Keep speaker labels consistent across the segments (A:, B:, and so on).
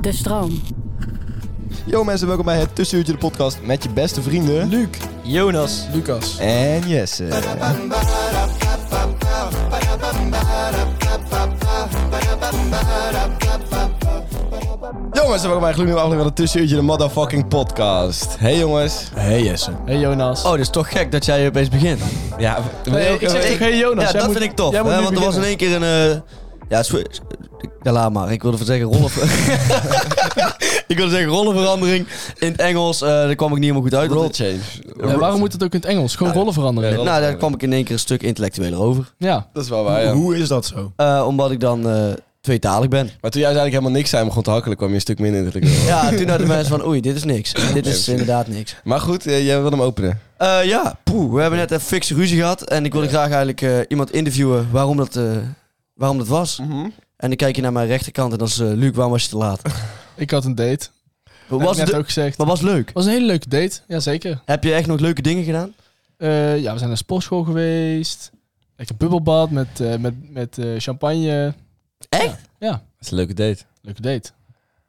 A: De stroom.
B: Yo mensen, welkom bij het Tussenuurtje de podcast met je beste vrienden... Luc, Jonas
C: Lucas.
B: en Jesse. Yo mensen, welkom bij een gloednieuwe aflevering van het Tussenuurtje de motherfucking podcast. Hey jongens.
C: Hey Jesse. Hey Jonas.
D: Oh, dat is toch gek dat jij opeens begint.
B: Ja,
C: ik zeg toch, hey Jonas.
D: ja,
C: jij
D: dat
C: moet-
D: vind ik tof.
C: jij
D: Hè,
C: moet
D: want
C: nu
D: er was in één keer een... eh, ja, swi- ja, laat maar. Ik wilde voor zeggen rollen... ik wilde zeggen rollenverandering. In het Engels, eh daar kwam ik niet helemaal goed uit.
B: Roll
D: Dat-
B: change.
C: Ja, waarom moet het ook in het Engels? Gewoon rollen veranderen.
B: Ja,
D: nou, daar kwam ik in één keer een stuk intellectueler over.
C: Ja.
B: Dat is wel waar, ja.
E: Hoe is dat zo?
D: Eh, omdat ik dan eh, tweetalig ben.
B: Maar toen jij eigenlijk helemaal niks zei en begon te hakkelen, kwam je een stuk minder intelligent. over.
D: Ja, toen hadden mensen van oei, dit is niks. Dit is inderdaad niks.
B: Maar goed, eh, jij wilde hem openen.
D: Eh, ja, poeh. We hebben net een fikse ruzie gehad. En ik wilde graag eigenlijk eh, iemand interviewen waarom dat, eh, waarom dat was.
C: Mhm.
D: En dan kijk je naar mijn rechterkant en dan is eh, Luc, waarom was je te laat?
C: Ik had een date.
D: Wat was
C: Was heb ik
D: het
C: net ook gezegd.
D: Maar was leuk.
C: was een hele leuke date. Jazeker.
D: Heb je echt nog leuke dingen gedaan?
C: Eh, ja, we zijn naar sportschool geweest. Lekker bubbelbad met, eh, met, met eh, champagne.
D: Echt?
B: Dat is een leuke date.
C: Leuke date.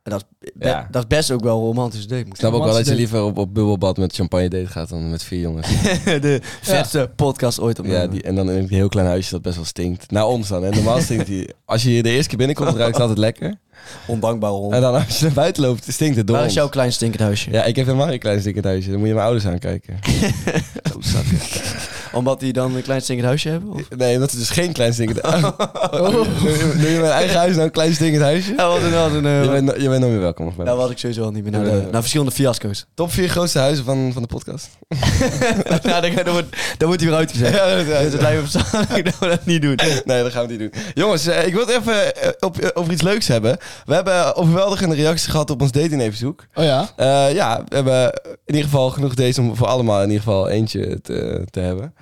D: Dat, is, be-
B: Ja.
D: dat is best ook wel een romantisch date. Moet
B: Ik snap ook wel dat je
C: Romantische
B: liever op, op bubbelbad met champagne date gaat dan met vier jongens.
D: zeggen. De vetste podcast ooit op
B: Ja, die, en dan in een heel klein huisje dat best wel stinkt. Naar ons dan. Hè. Normaal stinkt die. Als je hier de eerste keer binnenkomt, ruikt het altijd lekker.
D: Ondankbaar hond.
B: En dan als je naar buiten loopt, stinkt het door.
D: Waar is
B: ons.
D: jouw klein stinkend huisje?
B: Ja, ik heb helemaal een klein stinkend huisje. Dan moet je mijn ouders aankijken.
D: Omdat die dan een klein stinkend huisje hebben? Of?
B: Nee, dat is dus geen klein stinkend huisje.
D: Oh.
B: Doe je mijn eigen huis nou een klein stinkend huisje?
D: Ja, wat een, wat een, eh,
B: Je bent, je bent nog weer welkom.
D: nou, wat ik sowieso al niet meer naar, de-
B: Ja, ja.
D: naar verschillende fiasco's.
B: Top vier grootste huizen van, van de podcast.
D: ja, dan, dan wordt, dan wordt hij weer uitgezet.
B: Ja, dat,
D: Dus het lijkt me verstandig dat we dat niet doen.
B: Nee, dat gaan we niet doen. Jongens, eh, ik wil het even eh, op, eh, over iets leuks hebben. We hebben overweldigende reacties gehad op ons datingverzoek.
C: Oh ja.
B: Eh, ja, we hebben in ieder geval genoeg deze om voor allemaal in ieder geval eentje te, te hebben.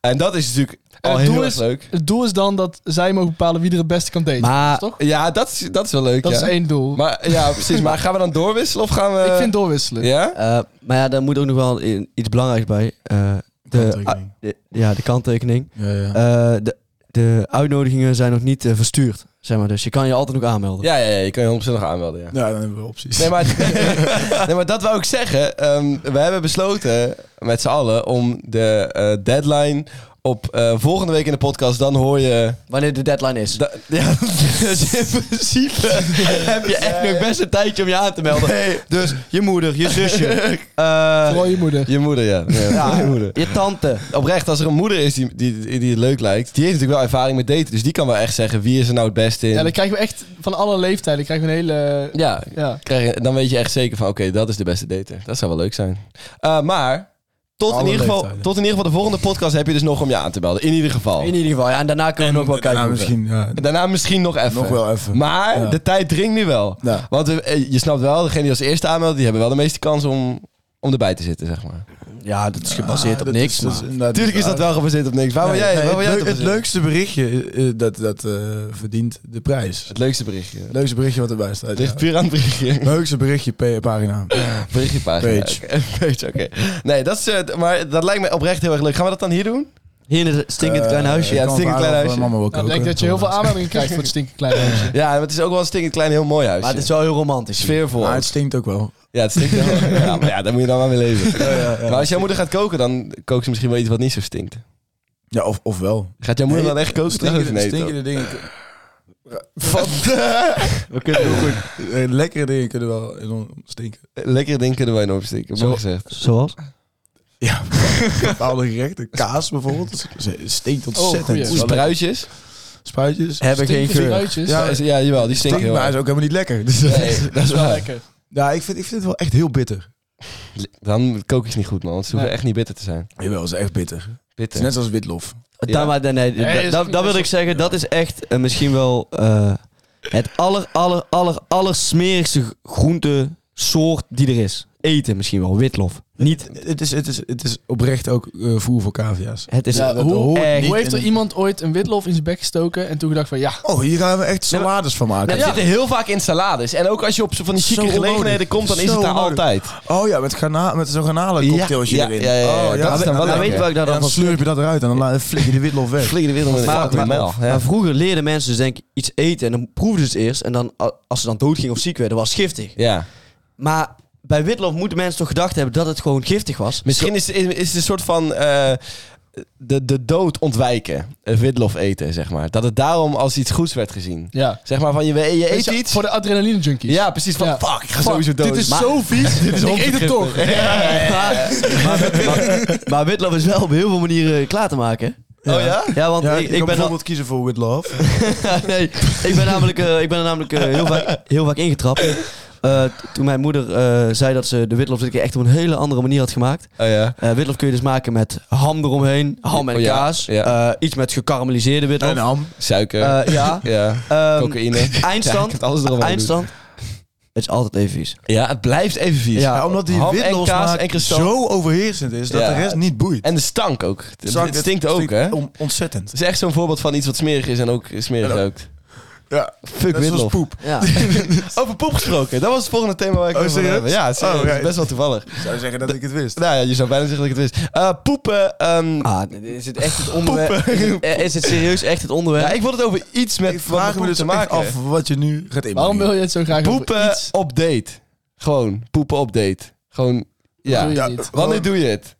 B: En dat is natuurlijk al
C: En het
B: heel
C: doel
B: erg
C: is-
B: leuk.
C: Het doel is dan dat zij mogen bepalen wie er het beste kan daten.
D: Maar-
C: toch?
B: Ja, dat is, dat is wel leuk.
C: Dat
B: ja.
C: is één doel.
B: Maar ja, precies. Maar gaan we dan doorwisselen of gaan we...
C: ik vind doorwisselen.
B: Ja?
D: Eh, maar ja, daar moet ook nog wel i- iets belangrijks bij. Eh, de,
E: Kanttekening.
D: ah, de- ja, de kanttekening.
E: Ja, ja.
D: Eh, de, de uitnodigingen zijn nog niet eh, verstuurd, zeg maar. Dus je kan je altijd nog aanmelden.
B: ja? Ja, ja, je kan je 100% nog aanmelden, ja.
E: ja, dan hebben we opties.
B: Nee maar, nee, maar dat wou ik zeggen. Ehm, we hebben besloten met z'n allen om de eh, deadline op eh, volgende week in de podcast. Dan hoor je...
D: Wanneer de deadline is.
B: da- ja, dus in principe heb je echt nog best een tijdje om je aan te melden.
D: Dus je moeder, je zusje, eh,
C: Vooral je moeder.
B: Je moeder, ja. ja,
D: Ja.
B: Je moeder.
D: je tante.
B: Oprecht, als er een moeder is die, die, die het leuk lijkt, die heeft natuurlijk wel ervaring met daten. Dus die kan wel echt zeggen wie is er nou het beste in.
C: Ja, dan krijgen we echt van alle leeftijden krijgen we een hele...
B: Ja,
C: Ja.
B: krijg je- dan weet je echt zeker van oké, dat is de beste dater. Dat zou wel leuk zijn. Eh, maar tot
E: Alle
B: in, ieder geval,
E: leeftijden.
B: tot in ieder geval de volgende podcast heb je dus nog om je aan te melden. In ieder geval.
D: In ieder geval, ja. En daarna kunnen we nog wel kijken.
E: Nou,
D: hoe het
E: misschien ja,
B: Daarna misschien nog even.
E: nog wel even.
B: Maar
E: Ja.
B: de tijd dringt nu wel.
E: Ja.
B: Want eh, eh, je snapt wel, degene die als eerste aanmeldt, die hebben wel de meeste kans om, om erbij te zitten, zeg maar.
D: gaat. Ja, Ah, dat is
E: Ah,
D: dus gebaseerd op niks,
E: dus-
D: maar...
B: Tuurlijk is dat wel gebaseerd op niks. Waar wil jij, waar wil jij
E: het,
B: op
E: leuk- het
B: zitten?
E: leukste berichtje, eh, eh, dat, dat eh, verdient de prijs.
B: Het leukste berichtje.
E: Het leukste berichtje wat erbij
B: Het
E: staat.
B: ligt
E: ja.
B: puur aan het berichtje.
E: Leukste berichtje, pe- pagina.
B: Berichtje pagina.
E: Page.
B: Oké, Page, oké. Nee, dat is, eh, maar dat lijkt mij oprecht heel erg leuk. Gaan we dat dan hier doen?
D: Hier in het stinkend
E: Eh,
D: klein huisje.
B: ja,
E: ik kan
B: stinkend
E: vragen
B: klein
E: of,
B: huisje.
E: eh, Mama wil
C: Nou, ik
E: koken.
C: denk dat je heel veel aanmeldingen krijgt voor het stinkend klein huisje.
B: Ja, maar het is ook wel een stinkend klein, heel mooi huis.
D: Maar het is wel heel romantisch.
B: sfeervol.
E: Maar het stinkt ook wel.
B: Ja, het stinkt wel. ja, maar ja, daar moet je dan wel mee leven. maar als jouw moeder gaat koken, dan kookt ze misschien wel iets wat niet zo stinkt.
E: Ja, of, of wel.
B: Gaat jouw moeder dan echt koken?
E: Stinkende,
B: trouwens? Nee,
E: stinkende dingen. Van
B: We kunnen heel goed.
E: Eh, lekkere dingen kunnen wel enorm stinken.
B: Lekkere dingen kunnen wij in opsteken. Mooi
D: Zo.
B: gezegd.
D: Zoals?
E: Ja, bepaalde gerechten. Kaas bijvoorbeeld. dat Stinkt
C: Oh, goeie.
E: ontzettend.
C: Oeh,
E: Spru-
B: Spruitjes?
E: Spruitjes.
D: Hebben geen
C: Stinken
D: geur.
C: fruitjes.
B: Ja, is- ja, jawel, die stinken
E: Stinkt,
B: heel
E: maar is
B: erg.
E: ook helemaal niet lekker. Dus
B: Nee, dat is
C: Dat is wel
B: waar.
C: lekker.
E: Ja, ik vind, ik vind het wel echt heel bitter.
B: Dan kook ik niet goed, man. want Ze hoeven
C: Nee.
B: echt niet bitter te zijn.
E: Jawel, het is echt bitter. Het is
B: Bitter.
E: net zoals witlof.
B: Ja.
D: Ja. maar, nee, nee,
C: Nee,
D: da-
C: is-
D: dat, dat wil ik zeggen, dat is echt eh, misschien wel eh, het aller, aller, aller, aller smerigste groente soort die er is. Eten misschien wel, witlof. Niet,
E: Het is, het is, het is oprecht ook eh, voer voor cavia's.
D: het is...
C: Ja,
E: dat
C: hoe,
E: hoort
D: niet
C: hoe heeft
E: in
C: er
E: een-
C: iemand ooit een witlof in zijn bek gestoken en toen gedacht van ja,
E: Oh, hier gaan we echt salades van maken.
B: Dat zit er heel vaak in salades. En ook als je op zo van die
E: Zo
B: chique gelegenheden
E: onnodig.
B: komt, dan is
E: Zo
B: het daar
E: onnodig.
B: altijd.
E: Oh ja, met, grana met zo'n garnalencocktailtje
B: Ja,
E: erin.
B: ja, ja, ja,
E: oh,
B: dat is dan wel
D: Maar
B: lekker.
D: weet je wat ik daar
E: En
D: dan
E: dan
D: van
E: slurp je dat eruit en dan la- flik je de witlof weg.
B: Flikker de wereld met
D: Maar-
B: een
D: maar-
B: mel. Ja.
D: Maar vroeger leerden mensen dus denk ik iets eten en dan proefden ze het eerst. En dan, a- als ze dan dood gingen of ziek werden, was het giftig.
B: Ja.
D: Maar bij witlof moeten mensen toch gedacht hebben dat het gewoon giftig was.
B: Misschien is, is is het een soort van eh, de, de dood ontwijken. Eh, Witlof eten, zeg maar. Dat het daarom als iets goeds werd gezien.
C: ja.
B: Zeg maar van je, je
C: Weet
B: eet
C: je,
B: iets.
C: Voor de adrenaline junkies.
B: Ja, precies. Van
C: Ja.
B: fuck, ik ga
C: Fuck,
B: sowieso dood.
C: Dit is
D: Maar-
C: zo vies. dit is ik eet het toch.
D: Maar, maar, maar- maar witlof is wel op heel veel manieren klaar te maken.
B: Oh ja?
D: Ja, want
E: Ja,
D: ik, ik ben al-
E: bijvoorbeeld kiezen voor witlof.
D: nee, ik ben namelijk, eh, ik ben er namelijk eh, heel, vaak, heel vaak ingetrapt. Eh, t- toen mijn moeder eh, zei dat ze de witlof dit keer echt op een hele andere manier had gemaakt.
B: Oh ja.
D: Eh, witlof kun je dus maken met ham eromheen, ham en
B: Oh ja,
D: kaas.
B: ja.
D: eh, iets met gekarameliseerde witlof.
E: En ham.
B: Suiker.
D: Eh, ja.
B: ja.
D: Ehm,
B: Cocaïne. Ja, ik
D: eindstand.
B: heb alles eromheen doen.
D: eindstand. Het is altijd even vies.
B: Ja, het blijft even vies.
D: Ja.
E: Ja, omdat die
B: Ham en
E: witlof
B: kaas
E: smaak
B: en kristal.
E: zo overheersend is dat
B: Ja.
E: de rest niet boeit.
B: En de stank ook. Het
E: Zak,
B: het stinkt ook, hè?
E: on- ontzettend.
B: Het is echt zo'n voorbeeld van iets wat smerig is en ook smerig
E: Ja.
B: ruikt.
E: Ja,
B: Fuck
E: dat is
B: witlof.
E: poep.
D: Ja.
B: Over poep gesproken. Dat was het volgende thema waar ik
E: Oh,
B: over wil
E: serieus?
B: hebben. Ja, serieus.
E: Oh, ja.
B: Dat is best wel toevallig.
E: Ik zou zeggen dat ik het wist.
B: Nou ja, je zou bijna zeggen dat ik het wist. Eh, poepen. ehm,
D: Ah, is het echt het onderwerp? Eh, Is het serieus echt het
B: ja,
D: onderwerp?
B: ik wil het over iets met
E: ik
B: wat
E: vraag
B: met
E: me
B: poep
E: dus
B: te
E: echt
B: maken.
E: af wat je nu gaat inbrengen.
C: Waarom wil je het zo graag over
B: Poepen
C: iets?
B: op date. Gewoon, poepen op date. Gewoon, ja.
C: Doe je
E: Ja,
C: niet.
B: Wanneer doe je het?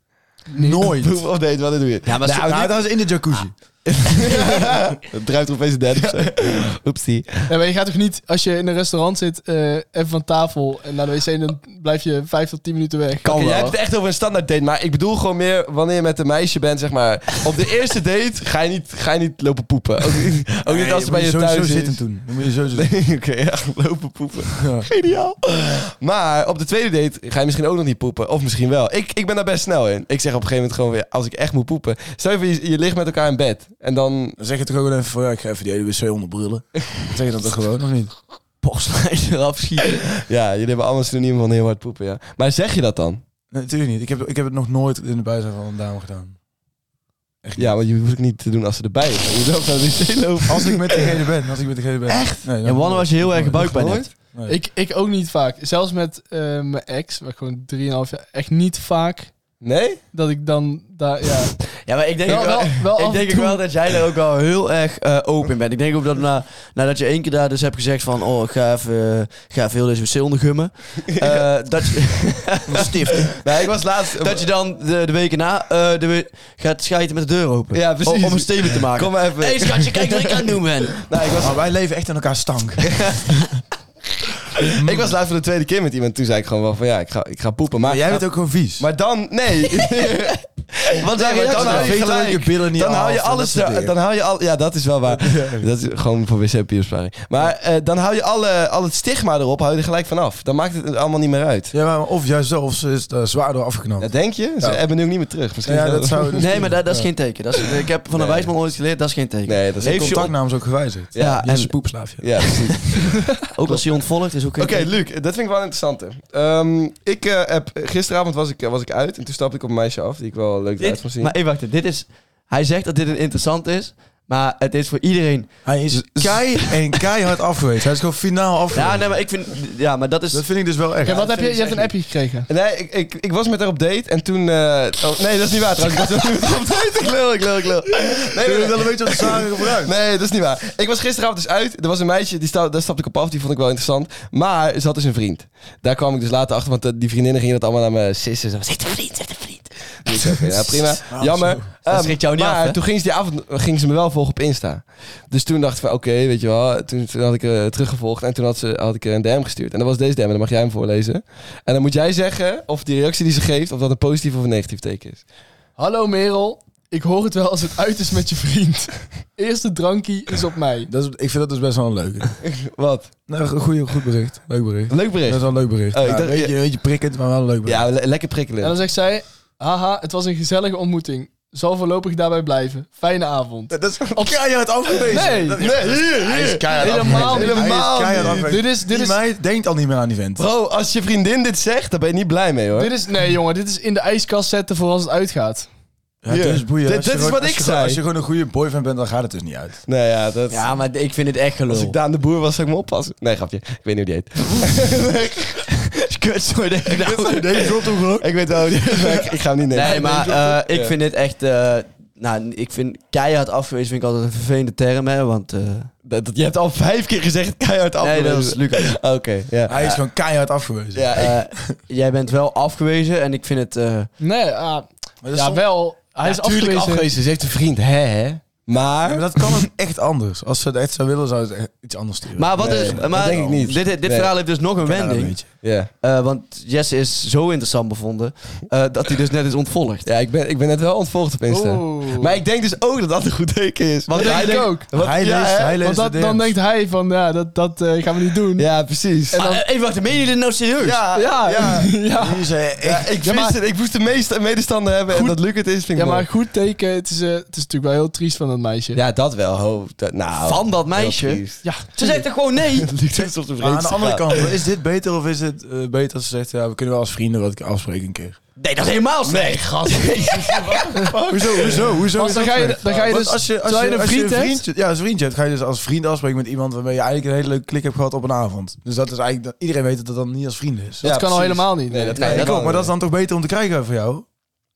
E: Nooit.
B: Poepen op date, wanneer doe je het?
D: Ja, maar zo-
B: nou,
E: Nou,
B: dit-
E: dat is in de jacuzzi.
B: Het drijft er opeens een derde of zo. Oepsie.
C: Ja, maar je gaat toch niet, als je in een restaurant zit, eh, even van tafel en naar de wc, dan blijf je 5 tot 10 minuten weg.
B: Oké,
C: wel.
B: jij hebt het echt over een standaard date, maar ik bedoel gewoon meer wanneer je met een meisje bent, zeg maar. Op de eerste date ga je niet, ga je niet lopen poepen. Ook, niet- ook niet als het bij je
E: zo,
B: thuis
E: zo
B: is.
E: zitten doen. Dan moet je zo zitten.
B: Nee, oké, ja, lopen poepen.
E: Ja.
B: Geniaal. Maar op de tweede date ga je misschien ook nog niet poepen. Of misschien wel. Ik, ik ben daar best snel in. Ik zeg op een gegeven moment gewoon weer, als ik echt moet poepen. Stel je voor, je, je ligt met elkaar in bed. En dan...
E: Dan zeg je toch ook wel even van, ja, ik ga even die hele wc onderbrullen. Dan zeg je dat toch gewoon, of niet?
D: Postlijn eraf schieten.
B: Ja, jullie hebben allemaal synoniem van heel hard poepen, ja. Maar zeg je dat dan?
E: Nee, natuurlijk niet. Ik heb, ik heb het nog nooit in de bijzijn van een dame gedaan. Echt niet.
B: Ja, want je hoeft het niet te doen als ze erbij is. Je loopt naar de wc lopen.
E: Als ik met degene ben, als ik met degene ben. Echt? Nee, dan-
D: Ja, wanneer was je heel erg buikpijn
E: Nooit.
D: hebt?
E: Nee.
C: Ik, ik ook niet vaak. Zelfs met eh, mijn ex, waar ik gewoon 3,5 jaar, echt niet vaak
B: Nee?
C: dat ik dan daar, ja.
D: Ja, maar ik denk,
C: Wel-
D: ook wel,
C: wel- wel af en
D: ik denk ook
C: toe.
D: wel dat jij daar ook wel heel erg eh, open in bent. Ik denk ook dat na, nadat je één keer daar dus hebt gezegd van... Oh, ik ga even, eh, ik ga even heel deze wc ondergummen. eh, dat, je,
E: stift.
B: Nee, ik was laatst...
D: dat je dan de, de weken na eh, de we- gaat schijten met de deur open.
B: Ja, precies.
D: Om, om een statement te
E: Ah,
D: maken.
B: Kom maar even.
D: Hé hey, schatje, kijk wat ik aan het doen ben.
B: Nee, ik was...
E: Maar wij leven echt aan elkaar stank.
B: Ik was laatst voor de tweede keer met iemand. Toen zei ik gewoon wel van ja, ik ga, ik ga poepen. Maar,
E: Maar jij bent ook gewoon vies.
B: maar dan, nee.
D: Want
B: Nee,
D: daar reactie
B: maar
D: op?
B: dan hou je
E: Veter
B: gelijk.
E: je billen niet
B: dan hou je
E: af en dat
B: alles
E: soort
B: er,
E: dingen.
B: dan hou je al ja dat is wel waar dat is gewoon voor wc-papiersparing maar eh, dan hou je alle, al het stigma erop hou je er gelijk vanaf dan maakt het allemaal niet meer uit
E: Ja, maar of juist zo, of ze is daar zwaar door afgenomen.
B: dat denk je ze
E: Ja.
B: hebben nu ook niet meer terug misschien
E: Nou ja, dat zou...
D: Nee, maar dat, dat is geen teken. Dat is, ik heb van een
B: Nee.
D: wijsman ooit geleerd, dat is geen teken.
B: nee dat is
D: Heeft
E: Heeft
D: je
B: contact-
E: contactnaam is ook gewijzigd.
B: Ja,
E: Die is
D: en-
E: een poepslaafje.
B: ja precies
D: Ook als hij ontvolgt is ook
B: Oké, Luc, dat vind ik wel interessant. ik eh, heb, gisteravond was ik, eh, was ik uit en toen stapte ik op een meisje af die ik wel leuk eruit vond
D: Dit,
B: zien.
D: maar even wachten, dit is... Hij zegt dat dit een interessant is, maar het is voor iedereen...
E: Hij is kei en keihard afgewezen. Hij is gewoon finaal afgewezen.
D: Ja, nee, maar ik vind... Ja, maar dat is...
E: Dat vind ik dus wel echt.
C: ja wat heb je?
D: vind
C: Je
D: ik
C: hebt
D: echt
C: een appje gekregen.
B: Nee, ik, ik, ik was met haar op date en toen... eh, oh, nee, dat is niet waar trouwens. Ik was met haar op date. Ik lul, ik lul, ik lul. Nee, nee,
E: Kun
B: nee.
E: je wel een beetje als zware gebruikt?
B: Nee, dat is niet waar. Ik was gisteravond dus uit. Er was een meisje, die sta, daar stapte ik op af. Die vond ik wel interessant. Maar ze had dus een vriend. Daar kwam ik dus later achter, want eh, die vriendinnen gingen dat allemaal naar mijn sissen. Ze was, heeft een vriend, ze heeft een vriend. Dus ik, oké, ja, prima. Jammer.
D: Ah, Dat
B: Ehm,
D: schrikt jou niet
B: maar
D: af, hè?
B: toen ging ze die avond eh, ging ze me wel volgen op Insta. Dus toen dacht ik van oké, weet je wel. Toen, toen had ik er teruggevolgd en toen had, ze, had ik er een DM gestuurd. En dat was deze DM en dan mag jij hem voorlezen. En dan moet jij zeggen of die reactie die ze geeft, of dat een positief of een negatief teken is.
C: Hallo Merel, ik hoor het wel als het uit is met je vriend. Eerste drankie is op mij.
E: Dat is, ik vind dat dus best wel een leuke.
B: Wat?
E: Nou, go- goeie, goed bericht. Leuk bericht.
B: Leuk
E: Dat
B: bericht.
E: is wel een leuk bericht.
B: Oh, ik
E: Ja,
B: dacht-
E: een beetje, een beetje prikkend, maar wel een leuk bericht.
B: Ja, le- lekker
C: En dan
B: prikkelen.
C: zegt zij, haha, het was een gezellige ontmoeting. Zal voorlopig daarbij blijven. Fijne avond.
E: Dat is gewoon keihard afgewezen.
C: Nee,
E: Dat-
B: Nee,
E: Hij is keihard
C: Helemaal niet.
E: afgewezen. Hij is
C: Helemaal
E: keihard
C: niet.
E: afgewezen.
C: Dit is- dit
E: Die
C: is-
E: meid denkt al niet meer aan die vent.
B: nou, Bro, als je vriendin dit zegt, dan ben je niet blij mee hoor.
C: dit is, nee jongen, dit is in de ijskast zetten voor als het uitgaat.
E: Ja, dit is boeien.
B: Dit-
E: Als je
B: dit is wat
E: gewoon- als
B: ik
E: je gewoon-
B: zei.
E: Als je gewoon een goede boyfriend bent, dan gaat het dus niet uit.
B: Nou ja, dat...
D: Ja, maar ik vind het echt gelul.
B: Als ik Daan de Boer was, zou ik me oppassen. Nee, grapje. Ik weet niet hoe die heet. Kut, sorry. denk ik nou. Ik weet wel hoe die maar ik- Ik ga hem niet nemen.
D: Nee, maar eh, ik
B: Ja.
D: vind dit echt... eh, nou, ik vind keihard afgewezen vind ik altijd een vervelende term, hè. Want... eh,
B: Dat, dat- je hebt al vijf keer gezegd keihard af.
D: nee, dat is Lucas.
B: Oké, ja.
E: Hij is gewoon keihard afgewezen.
B: Ja, ik-
D: Eh, jij bent wel afgewezen en ik vind het... eh,
C: Nee, ah,
E: Maar dat is
C: ja
E: soms-
C: wel. Hij
B: Ja,
C: is
B: tuurlijk
C: afgewezen.
B: Ze heeft een vriend, hè, hè? Maar...
E: Ja, maar dat kan ook echt anders. Als ze het echt zou willen, zou ze het echt iets anders sturen.
D: maar wat
B: Nee,
D: is...
B: dat
D: maar
B: denk ik niet.
D: Dit, dit
B: Nee.
D: verhaal heeft dus nog een
E: Ja, dat
D: wending.
E: weet je.
B: Ja.
D: Eh, want Jesse is zo interessant bevonden eh, dat hij dus net is ontvolgd.
B: Ja, ik ben, ik ben net wel ontvolgd op Insta.
C: Oeh.
B: Maar ik denk dus ook dat dat een goed teken is.
C: dat denk
B: hij
C: ik
B: denkt-
C: ook.
B: Wat-
E: Hij
B: ja,
E: leest,
B: hè?
E: hij leest
C: Want dat,
E: de
C: dan
E: DM's.
C: denkt hij van, ja, dat, dat eh, gaan we niet doen.
B: Ja, precies.
C: En dan-
D: Ah, even wachten, meen je dit nou serieus?
B: ja,
C: ja, ja.
E: Die is, eh, echt-
B: Ja, ik,
C: Ja, maar-
B: wist het, ik moest de meeste medestander hebben en
C: Goed.
B: dat Luc het is, vind ik
C: Ja,
B: mooi.
C: maar goed teken. Het is, eh, het is natuurlijk wel heel triest van dat meisje.
B: Ja, dat wel. Ho, dat- nou,
D: Van dat meisje?
B: heel triest.
C: Ja,
D: Ze zei toch gewoon nee?
B: Het ligt echt op de
E: Maar aan de
B: vreedste
E: andere
B: graad.
E: kant, is dit beter of is het eh, beter als ze zegt, ja, we kunnen wel als vrienden wat afspreken een keer.
D: Nee, dat is helemaal slecht.
B: Nee, gast.
E: Hoezo, hoezo, hoezo?
C: Want
E: is
C: dan
E: dat
C: ga je-
E: slecht?
C: dan ga je
E: Want
C: dus-
E: als je, als
C: terwijl
E: je,
C: je een
E: als je
C: vriend hebt-
E: vriendje- ja, als een vriendje hebt, ga je dus als vriend afspreken met iemand waarmee je eigenlijk een hele leuke klik hebt gehad op een avond. Dus dat is eigenlijk, dat iedereen weet dat dat dan niet als vrienden is.
C: dat kan al helemaal niet.
B: Nee, dat kan
E: Ja,
B: je helemaal
E: dat klopt, maar dat is
B: niet.
E: dan toch beter om te krijgen voor jou?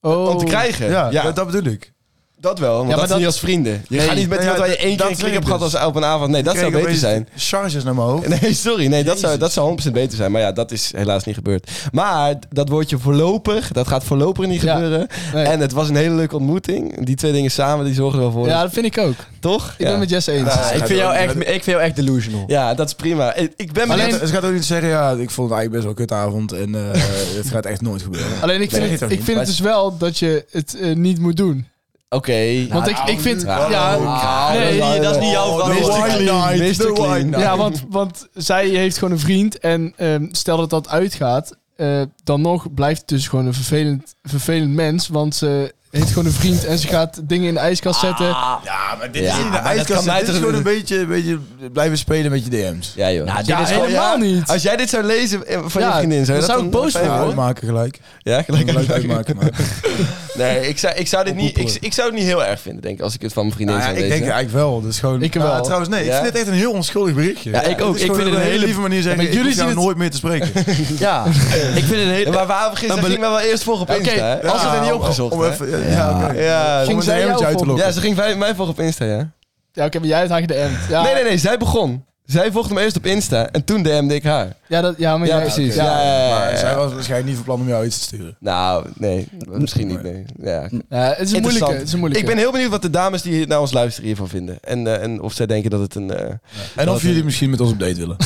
C: Oh.
B: Om te krijgen?
E: Ja,
B: Ja,
E: Dat,
B: Dat,
E: dat bedoel ik.
B: dat wel. Want
C: Ja,
B: dat
C: maar
B: is niet als vrienden. Je gaat niet met
E: Nou
B: iemand
E: ja,
B: waar je één
E: dat
B: keer een
E: zeg
B: klik
E: ik
B: hebt gehad
E: dus.
B: als op een avond. Nee, dat
E: Ik
B: zou
E: kreeg
B: beter
E: opeens
B: zijn.
E: Charges naar mijn hoofd.
B: Nee, sorry. Nee, dat zou,
E: Jezus.
B: dat zou 100% beter zijn. Maar ja, dat is helaas niet gebeurd. Maar dat woordje voorlopig, dat gaat voorlopig niet
C: Ja.
B: gebeuren.
C: Nee.
B: En het was een hele leuke ontmoeting. Die twee dingen samen, die zorgen er wel voor.
C: ja, dat vind ik ook.
B: Toch?
C: Ik
B: ja.
C: ben met Jesse eens.
E: Ja,
D: ik, vind jou echt, ik vind jou echt delusional.
B: ja, dat is prima. Ik, ik ben
C: Alleen-
B: met...
E: Het gaat ook niet zeggen, ja, ik vond het eigenlijk best wel een kutavond en eh, het gaat echt nooit gebeuren.
C: Alleen ik
E: Nee,
C: vind,
E: dat
C: het,
E: ook
C: ik
E: niet.
C: vind het dus wel dat je het eh, niet moet doen.
B: Oké.
C: Want ik, ik vind...
B: nou,
C: Ja,
D: Ah,
C: nee.
D: dat, is, dat is niet jouw
E: Oh,
D: verantwoordelijkheid.
E: de wine night,
B: Mr.
E: de
B: Clean.
E: wine night.
C: ja want, want zij heeft gewoon een vriend. En ehm, stel dat dat uitgaat, eh, dan nog blijft het dus gewoon een vervelend, vervelend mens. Want ze heeft gewoon een vriend en ze gaat dingen in de ijskast
B: Ah.
C: zetten.
E: Ja, maar dit
B: Ja,
E: is in de
B: maar dat kan
E: ijskast.
B: mij
E: Dit is
B: toch-
E: gewoon een beetje, een beetje blijven spelen met je DM's.
C: eh,
B: Ja, joh.
D: Nou,
B: Ja,
D: dit is
C: helemaal niet.
B: Als jij dit zou lezen eh, van
C: Ja,
B: je vriendin, zou je dat
C: dan zou ik boos
B: fijn
C: worden,
E: Ja,
B: vinden?
E: uitmaken gelijk.
B: Ja, gelijk.
E: Leuk uitmaken, maar...
B: Nee, ik zou, ik zou dit niet, ik, ik zou het niet heel erg vinden, denk ik, als ik het van mijn vriendin
E: Nou ja,
B: zou
E: ik
B: lezen.
E: denk eigenlijk wel. Dus gewoon,
C: Ik
E: Nou,
C: wel.
E: trouwens, nee, ik
B: Ja?
E: vind dit echt een heel onschuldig berichtje.
D: Ja, ik ook.
E: Het is
D: Ik
E: gewoon
D: vind het
E: op
D: een hele-
E: lieve manier zeggen,
C: maar
E: ik jullie
C: jullie
E: zien
C: zien het-
E: nooit meer te spreken.
D: Ja, ik vind het
B: Ja,
D: heel...
B: maar waarom gisteren
D: bel-
B: ging mij wel eerst volgen op
C: Oké,
B: Insta, hè? Ah,
E: Ja,
B: Als het er niet opgezocht,
E: om
B: hè?
E: even- Ja, oké.
B: Ja,
E: Om
C: Ging
E: een
C: zij jou
E: DM'tje uit te
C: volgen?
E: lokken.
B: ja, ze ging mij, mij volgen op Insta, ja.
C: Ja, oké, maar jij hebt haar gedm'd. Ja,
B: Nee, nee, nee, zij begon. Zij volgde me eerst op Insta en toen DM'de ik haar.
C: Ja, dat, ja, maar
B: Ja,
C: jij-
B: precies.
C: ja.
B: Ja, ja, ja,
E: Maar
B: ja.
E: zij was waarschijnlijk niet van plan om jou iets te sturen.
B: Nou, nee, misschien niet, nee. Ja.
C: Ja, het is een moeilijke. Het is een
B: Interessant. Ik
C: moeilijke.
B: ben heel benieuwd wat de dames die naar ons luisteren hiervan vinden. En, eh, en of zij denken dat het een... eh,
E: En of jullie misschien met ons op date willen.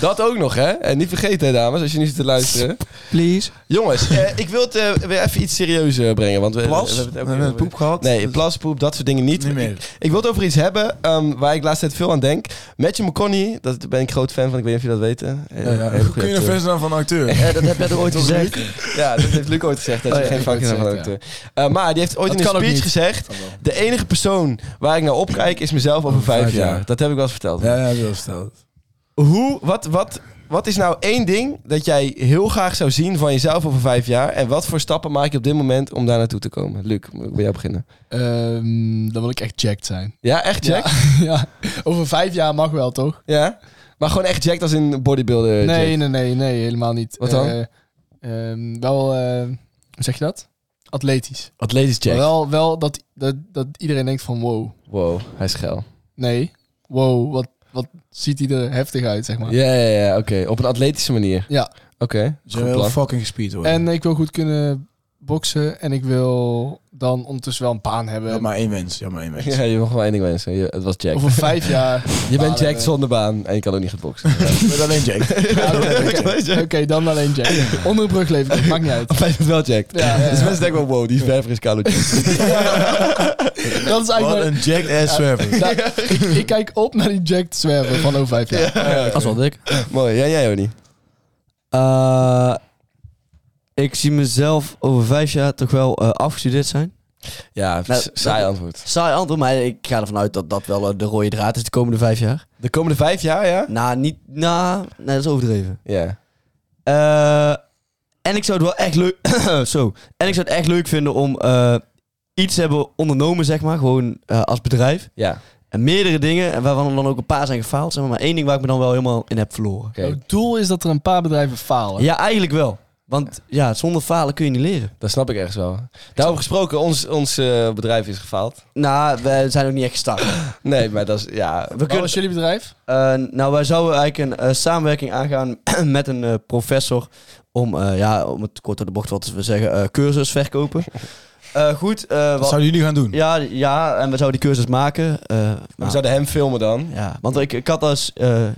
B: Dat ook nog, hè? En niet vergeten, hè, dames, als je nu zit te luisteren.
D: Please.
B: Jongens, eh, ik wil het eh, weer even iets serieus eh, brengen. Want we, we
E: Plas? We
B: hebben het ook
E: hebben
B: heel-
E: poep gehad.
B: Nee, plas, poep, dat soort dingen niet.
E: Niet meer.
B: Ik, ik wil het over iets hebben ehm, waar ik laatst tijd veel aan denk. Matthew McConaughey, daar ben ik groot fan van. Ik weet niet of jullie dat weten. Eh,
E: Ja,
B: hele
E: ja.
B: goede
E: Kun je
B: acteur.
E: nog verder dan van een acteur?
D: Eh, dat heb jij toch ooit gezegd?
B: Ja, dat heeft Luc ooit gezegd. Dat is
C: Oh ja,
B: geen fucking
C: dat
B: van
C: heeft
B: acteur. Eh, maar die heeft ooit
C: Dat
B: in een
C: kan ook
B: speech
C: niet.
B: gezegd... De enige persoon waar ik naar opkijk is mezelf over vijf,
E: vijf
B: jaar.
E: jaar.
B: Dat heb ik wel eens verteld.
E: Ja, ja, zo stelt.
B: Hoe, wat, wat, wat is nou één ding dat jij heel graag zou zien van jezelf over vijf jaar? En wat voor stappen maak je op dit moment om daar naartoe te komen? Luc, moet ik bij jou beginnen.
C: Ehm, dan wil ik echt jacked zijn.
B: Ja, echt jack? Ja.
C: ja. Over vijf jaar mag wel, toch?
B: Maar gewoon echt jack als in bodybuilder
C: nee,
B: jacked?
C: nee, nee, nee, helemaal niet.
B: Wat dan?
C: Eh, ehm, wel, eh, hoe zeg je dat? Atletisch.
B: Atletisch
C: Maar
B: jack.
C: Wel, wel dat, dat, dat iedereen denkt van wow.
B: Wow, hij is geil.
C: Nee. Wow, wat, wat ziet hij er heftig uit, zeg maar.
B: Ja, ja, ja, oké. Op een atletische manier.
C: Ja.
B: Oké,
E: Ze
B: goed
E: hebben wel
B: plan.
E: fucking gespeed hoor.
C: En ik wil goed kunnen boksen en ik wil dan ondertussen wel een baan
E: Ja,
C: hebben.
E: maar één wens. Ja, maar één wens.
B: Ja, je mag maar één ding wensen. Je- het was Jack.
C: Over vijf jaar.
B: Je bent
C: balen.
B: Jack zonder baan en je kan ook niet gaan boksen.
E: Ik ben alleen Jake.
C: Ja, Oké, oké, dan alleen Jack. Onder een brug leven, dat maakt niet uit.
B: Of hij vindt wel Jack.
C: Ja, ja, ja.
B: Dus mensen denken wel, wow, die verver is Carlo Jack.
C: Dat is
E: Wat
C: eigenlijk...
E: een jackass zwerver.
C: mijn- Nou, ik, ik kijk op naar die Jack zwerven van over vijf jaar.
B: Eh,
D: Dat is wel dik.
B: Mooi. Ja, jij ook niet.
D: Eh, ik zie mezelf over vijf jaar toch wel eh, afgestudeerd zijn.
B: Ja,
D: Nou,
B: s- saai
D: dat-
B: antwoord.
D: Saai antwoord, maar ik ga ervan uit dat dat wel eh, de rode draad is de komende vijf jaar.
B: De komende vijf jaar, ja?
D: Nou, niet... Nou, nee, dat is overdreven.
B: Ja.
D: Eh, en ik zou het wel echt leuk... Zo. En ik zou het echt leuk vinden om eh, iets te hebben ondernomen, zeg maar. Gewoon eh, als bedrijf.
B: Ja, oké.
D: En meerdere dingen, en waarvan er dan ook een paar zijn gefaald. Zeg maar, maar één ding waar ik me dan wel helemaal in heb verloren.
C: Jouw
B: Oh.
C: doel is dat er een paar bedrijven falen.
D: Ja, eigenlijk wel. Want ja, zonder falen kun je niet leren.
B: Dat snap ik ergens wel. Daarover gesproken, ons, ons eh, bedrijf is gefaald.
D: Nou, we zijn ook niet echt gestart.
B: Nee, maar dat is... Ja,
D: We
C: Wat
D: kunnen,
C: was jullie bedrijf?
D: eh, nou, wij zouden eigenlijk een eh, samenwerking aangaan met een eh, professor om, eh, ja, om het kort door de bocht wat te zeggen, eh cursus verkopen. Eh, goed, eh,
E: Wat
D: wat-
E: zouden jullie gaan doen?
D: ja, ja, en we zouden die cursus maken. eh,
B: we
D: nou,
B: zouden hem filmen dan.
D: ja, want ik, ik had als eh, een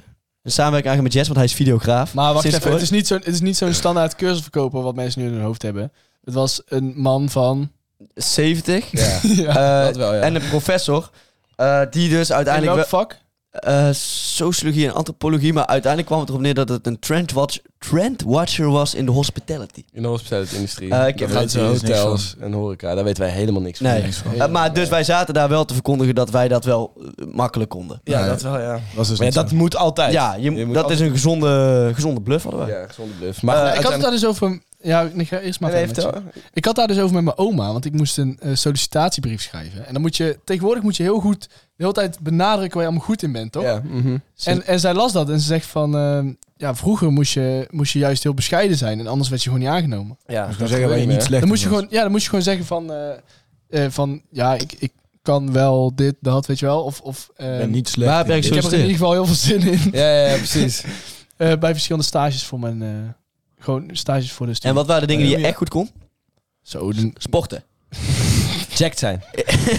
D: samenwerking aangegaan met Jess, want hij is videograaf.
C: Maar wacht
D: Sinds
C: even,
D: kort.
C: het is niet zo'n het is niet zo'n standaard cursusverkoper wat mensen nu in hun hoofd hebben. Het was een man van...
D: 70.
B: Ja,
C: Ja.
D: Eh,
B: dat wel, ja.
D: En een professor. eh, die dus uiteindelijk.
C: in welk vak?
D: wel- eh, sociologie en antropologie. Maar uiteindelijk kwam het erop neer dat het een trendwatch, trendwatcher was in de hospitality.
B: In de hospitality industrie.
D: Eh, ik-
B: Dat
D: Daar
B: weten
E: weten we dus niks
B: hotels en horeca. Daar weten wij helemaal niks van.
D: Nee.
E: Niks van.
D: Eh, maar dus wij zaten daar wel te verkondigen dat wij dat wel eh, makkelijk konden.
B: Ja,
E: Nee.
B: dat wel, ja.
E: Dat is dus
B: Maar ja,
E: niet
B: dat
E: zo.
B: moet altijd.
D: Ja, je,
B: Je moet
D: dat
B: altijd-
D: is een gezonde, gezonde bluff hadden wij.
B: Ja, gezonde bluff.
D: Eh,
B: Maar
C: ik had het daar dus over... Ja, ik ga eerst maar
B: Nee,
C: verder met
B: vertel.
C: je. Ik had daar dus over met mijn oma, want ik moest een eh, sollicitatiebrief schrijven. En dan moet je... Tegenwoordig moet je heel goed... De hele tijd benadrukken waar je allemaal goed in bent, toch?
B: Ja, mhm.
C: En, en zij las dat en ze zegt van... ehm, ja, vroeger moest je, moest je juist heel bescheiden zijn en anders werd je gewoon niet aangenomen.
B: ja.
E: Ik kan zeggen waar je niet slecht
C: Dan moest je,
E: in bent.
C: gewoon, ja, dan moest je gewoon zeggen van... eh, eh, van ja, ik, ik kan wel dit, dat, weet je wel. Of, of,
E: Ik
C: ehm,
E: ben niet slecht.
D: Waar heb
E: in
D: jij
E: dit.
C: ik heb er in ieder geval heel veel zin in.
B: Ja, ja, ja, precies.
C: Eh, bij verschillende stages voor mijn... eh, gewoon stages voor de studie.
D: En wat waren de dingen die je echt goed kon?
C: Zo, dan,
D: Sporten.
B: Jacked zijn.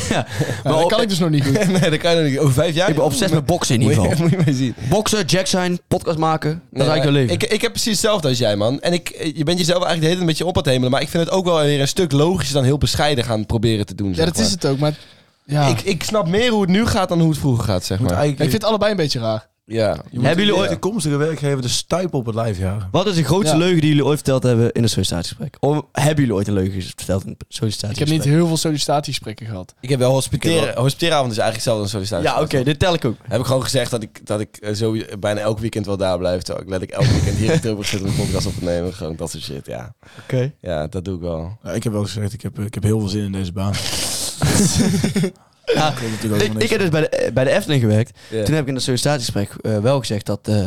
D: Maar
C: dat
D: op-
C: kan ik dus nog niet goed.
B: nee, dat kan je nog niet. Over vijf jaar?
D: Ik ben obsessief met boksen in
B: Moet
D: ieder
B: je,
D: geval.
B: moet je maar zien.
D: Boksen, jack zijn, podcast maken. Dat is eigenlijk
B: maar
D: je leven.
B: Ik, ik heb precies hetzelfde als jij, man. En ik, je bent jezelf eigenlijk de hele tijd met je op aan het hemelen. Maar ik vind het ook wel weer een stuk logischer dan heel bescheiden gaan proberen te doen.
C: Ja, dat is het ook, maar... Ja,
B: Ik,
C: ik,
B: ik snap meer hoe het nu gaat dan hoe het vroeger gaat, zeg
E: Je moet
B: maar.
E: eigenlijk-
C: vind het allebei een beetje raar.
B: Ja.
E: je moet
D: Hebben jullie
E: je
D: ooit-
E: toekomstige werkgever de stuip op het lijf jagen?
D: Wat is de grootste
C: Ja.
D: leugen die jullie ooit verteld hebben in een sollicitatiegesprek? Of hebben jullie ooit een leugen verteld in een
C: Ik heb niet
D: sollicitatiegesprek?
C: heel veel sollicitatiegesprekken gehad.
B: Ik heb wel
D: Ik
B: hospiteren.
D: heb
B: Hospiteeravond is eigenlijk hetzelfde als sollicitatie.
D: Ja, oké, dit tel ik ook.
B: Heb ik gewoon gezegd dat ik, dat ik eh, zo bijna elk weekend wel daar blijf. Terwijl ik let ik elk weekend hier in Tilburg zit om een podcast op te nemen. Gewoon dat soort shit, ja.
D: Oké.
B: Ja, dat doe ik wel.
E: Ja, ik heb wel gezegd, ik heb, eh, ik heb heel veel zin in deze baan.
D: Ja,
E: Ik weet natuurlijk
D: ik,
E: ook helemaal niks
D: ik heb dus bij de, eh, bij de Efteling gewerkt.
B: Ja.
D: Eh, Toen heb ik in een sollicitatiegesprek eh, wel gezegd dat, eh,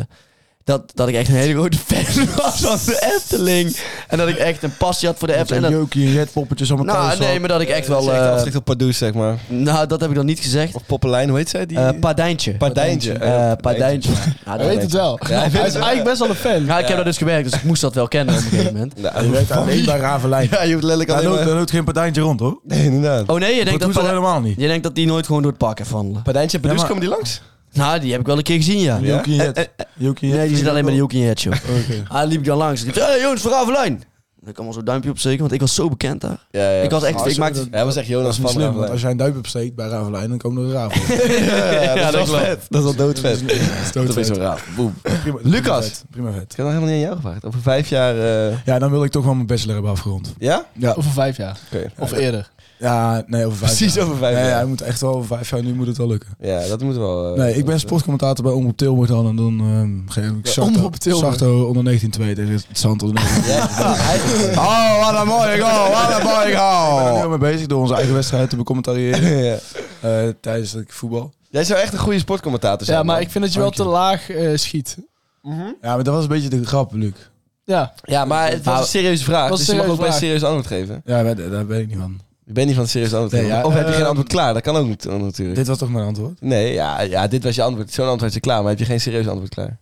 D: dat, dat ik echt een hele grote fan was van de Efteling. En dat ik echt een passie had voor de
E: van. Met
D: Efteling.
E: zijn
D: En dat-
E: Jokie, red poppetjes, allemaal
D: nou, nee, maar dat ik echt wel...
B: Dat is echt
D: eh,
B: afgericht op Pardoes, zeg maar.
D: nou, dat heb ik dan niet gezegd.
B: Of Poppelijn, hoe heet zij? Die...
D: Eh Pardijntje.
B: Pardijntje.
D: Eh, Pardijntje. Ja,
C: Hij weet het wel.
B: Ja, hij
C: hij,
B: weet
C: is
B: het wel.
C: eigenlijk best wel een fan.
D: Nou, ik heb daar dus gewerkt, dus ik moest dat wel kennen op een gegeven moment.
B: Nou,
E: Je werkt alleen bij Ravenlijn.
B: Ja, je hoeft letterlijk
E: Daar
B: alleen
E: loopt,
B: maar...
E: daar loopt geen partijtje rond, hoor.
B: Nee, inderdaad.
D: Oh nee, je denkt dat,
E: Dat doet al
D: Pardij-
E: helemaal niet.
D: je denkt dat die nooit gewoon door het park heeft wandelen.
B: Pardijntje, Pardoes,
E: Ja, maar-
B: komen die langs?
D: Nou, die heb ik wel een keer gezien, ja.
B: Ja?
E: Jokie,
D: Eh, eh,
E: red. Jokie,
D: Nee, die zit alleen bij de Jokie in het show.
E: Oké.
D: Ah, liep ik dan langs. Hé, hey, Jonas van Ravelijn. Ik kwam al zo'n duimpje op zeker, want ik was zo bekend daar.
B: Ja, ja.
D: Ik was echt...
E: Ah,
D: Ik
E: zo,
D: maakte...
E: dat-
B: Hij was echt
E: Dat
B: Jonas
E: is niet
B: van
E: slim, want
B: Ravelijn.
E: als jij een duip opsteekt bij Ravenlijn, dan komen er raven.
D: Ja,
B: Ja,
D: dat
B: echt
D: is
B: wel
D: vet.
B: Dat is wel doodvet. Dat is
E: doodvet.
B: zo raar. Boem.
E: Prima-
B: Lucas.
E: prima vet, Prima vet.
B: Ik heb nog helemaal niet aan jou gevraagd. Over vijf jaar... eh,
E: Ja, dan wil ik toch wel mijn bachelor hebben afgerond.
B: Ja?
E: Ja,
C: Over vijf jaar.
B: Oké.
C: Of eerder.
E: ja nee, over vijf
B: Precies
E: jaar.
B: over vijf
E: Nee, ja,
B: jaar.
E: hij moet echt wel over vijf jaar, nu moet het wel lukken.
B: Ja, dat moet wel... eh,
E: Nee, ik ben sportcommentator bij Omroep Tilburg dan en dan ehm geef ik Sarto,
C: Omroep Tilburg.
E: Sarto onder 19 2 tegen het Zand onder 19.
B: Ah,
D: Oh, wat een mooie goal, wat een mooie
E: Ik ben er nu
D: goal.
E: al mee bezig door onze eigen wedstrijd te becommentariëren
B: Oh. Ja.
E: eh, tijdens het voetbal.
B: Jij zou echt een goede sportcommentator zijn.
C: Ja, maar
B: man.
C: ik vind dat je wel te laag eh, schiet.
E: Ja, maar dat was een beetje de grap, Luc.
C: Ja,
B: Ja, maar het was een serieuze vraag.
C: was een
B: Dus je mag ook
C: serieuze
B: best
C: vraag.
B: serieus antwoord geven.
E: Ja, maar daar daar ben ik niet van.
B: Ik ben niet van het serieus antwoord
E: Nee,
B: geven.
E: ja,
B: Of heb je
E: eh,
B: geen antwoord klaar? Dat kan ook niet, eh, natuurlijk.
E: Dit was toch mijn antwoord?
B: Nee, ja, ja, dit was je antwoord. Zo'n antwoord is je klaar, maar heb je geen serieus antwoord klaar?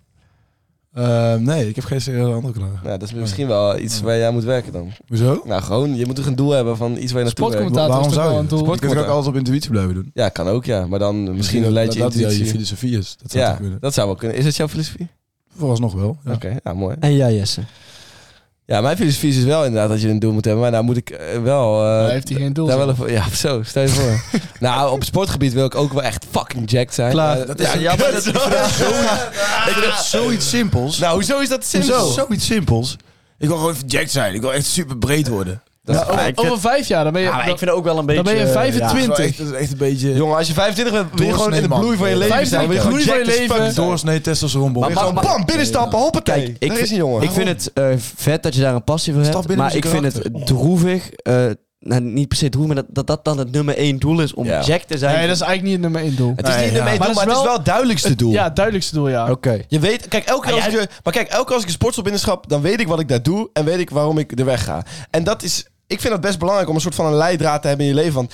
E: Ehm, nee, ik heb geen serieuze andere klaar.
B: Nou, dat is misschien wel iets waar jij moet werken dan.
E: Hoezo?
B: Nou, gewoon, je moet toch een doel hebben van iets waar je naartoe werkt.
C: Sportcommentator
E: Waarom
C: is toch
E: zou
C: wel
E: je?
C: een doel.
E: Je kunt ook
B: Sportcommentator.
E: altijd op intuïtie blijven doen.
B: Ja, kan ook, ja. Maar dan misschien leidt je
E: dat, dat jouw
B: intuïtie.
E: filosofie is. Dat zou
B: ja,
E: toch kunnen.
B: dat zou wel kunnen. Is dat jouw filosofie?
E: Vooralsnog wel. Ja.
B: Oké, ja, mooi.
D: En jij, Jesse.
B: Ja, mijn filosofie is dus wel inderdaad dat je een doel moet hebben. Maar nou moet ik eh, wel... eh,
C: Hij heeft hij geen doel.
B: daar wel
C: zeg.
B: even- ja, zo, stel je voor. nou, op sportgebied wil ik ook wel echt fucking jacked zijn.
D: Klaar.
B: Eh,
D: Dat
B: ja,
D: is-
B: ja, maar dat-
D: Ik vind dat zo- Ik vind dat zoiets simpels.
B: Nou, hoezo is dat simpel?
E: Hoezo? Zoiets simpels. Ik wil gewoon jacked zijn. Ik wil echt super breed worden.
B: Dat is
D: Ja,
B: fijn.
D: ik vind-
C: Over vijf jaar, dan ben je...
D: Ja, maar ik vind het ook wel een beetje...
C: Dan ben je
D: eh,
C: 25.
E: Dat is wel echt- dat is echt een beetje...
B: Jongen, als je 25 bent, wil je gewoon in de
E: Doorsnee,
B: bloei van je
E: man.
B: leven staan. Wil je gewoon
C: Bloei van je
B: jacked as
C: leven.
B: fuck zijn.
E: Doorsnee testosteronbom.
D: Maar-
B: Wil je gewoon
D: maar-
B: bam, binnenstappen, hoppakee.
D: Kijk, ik
B: Daar is
D: vind-
B: een jongen.
D: Ik vind het eh, vet dat je daar een passie voor
E: Stap
D: hebt.
E: binnen
D: Maar ik
E: met je
D: vind het droevig. eh, nou, niet per se droevig, maar dat dat, dat dan het nummer één doel is om
B: Ja.
D: jack te zijn.
C: Nee, dat is eigenlijk niet het nummer één doel.
B: Het is niet
E: Nee,
B: de
E: ja.
B: meest
C: Maar
B: doel,
C: dat
B: maar het is
C: is wel-
B: wel het duidelijkste doel.
C: Ja, het duidelijkste doel, ja.
D: Oké.
B: Je weet, kijk, elke keer, als ik, maar kijk, elke keer als ik een sportstop binnenschap, dan weet ik wat ik daar doe en weet ik waarom ik er weg ga. En dat is, ik vind dat best belangrijk om een soort van een leidraad te hebben in je leven. Want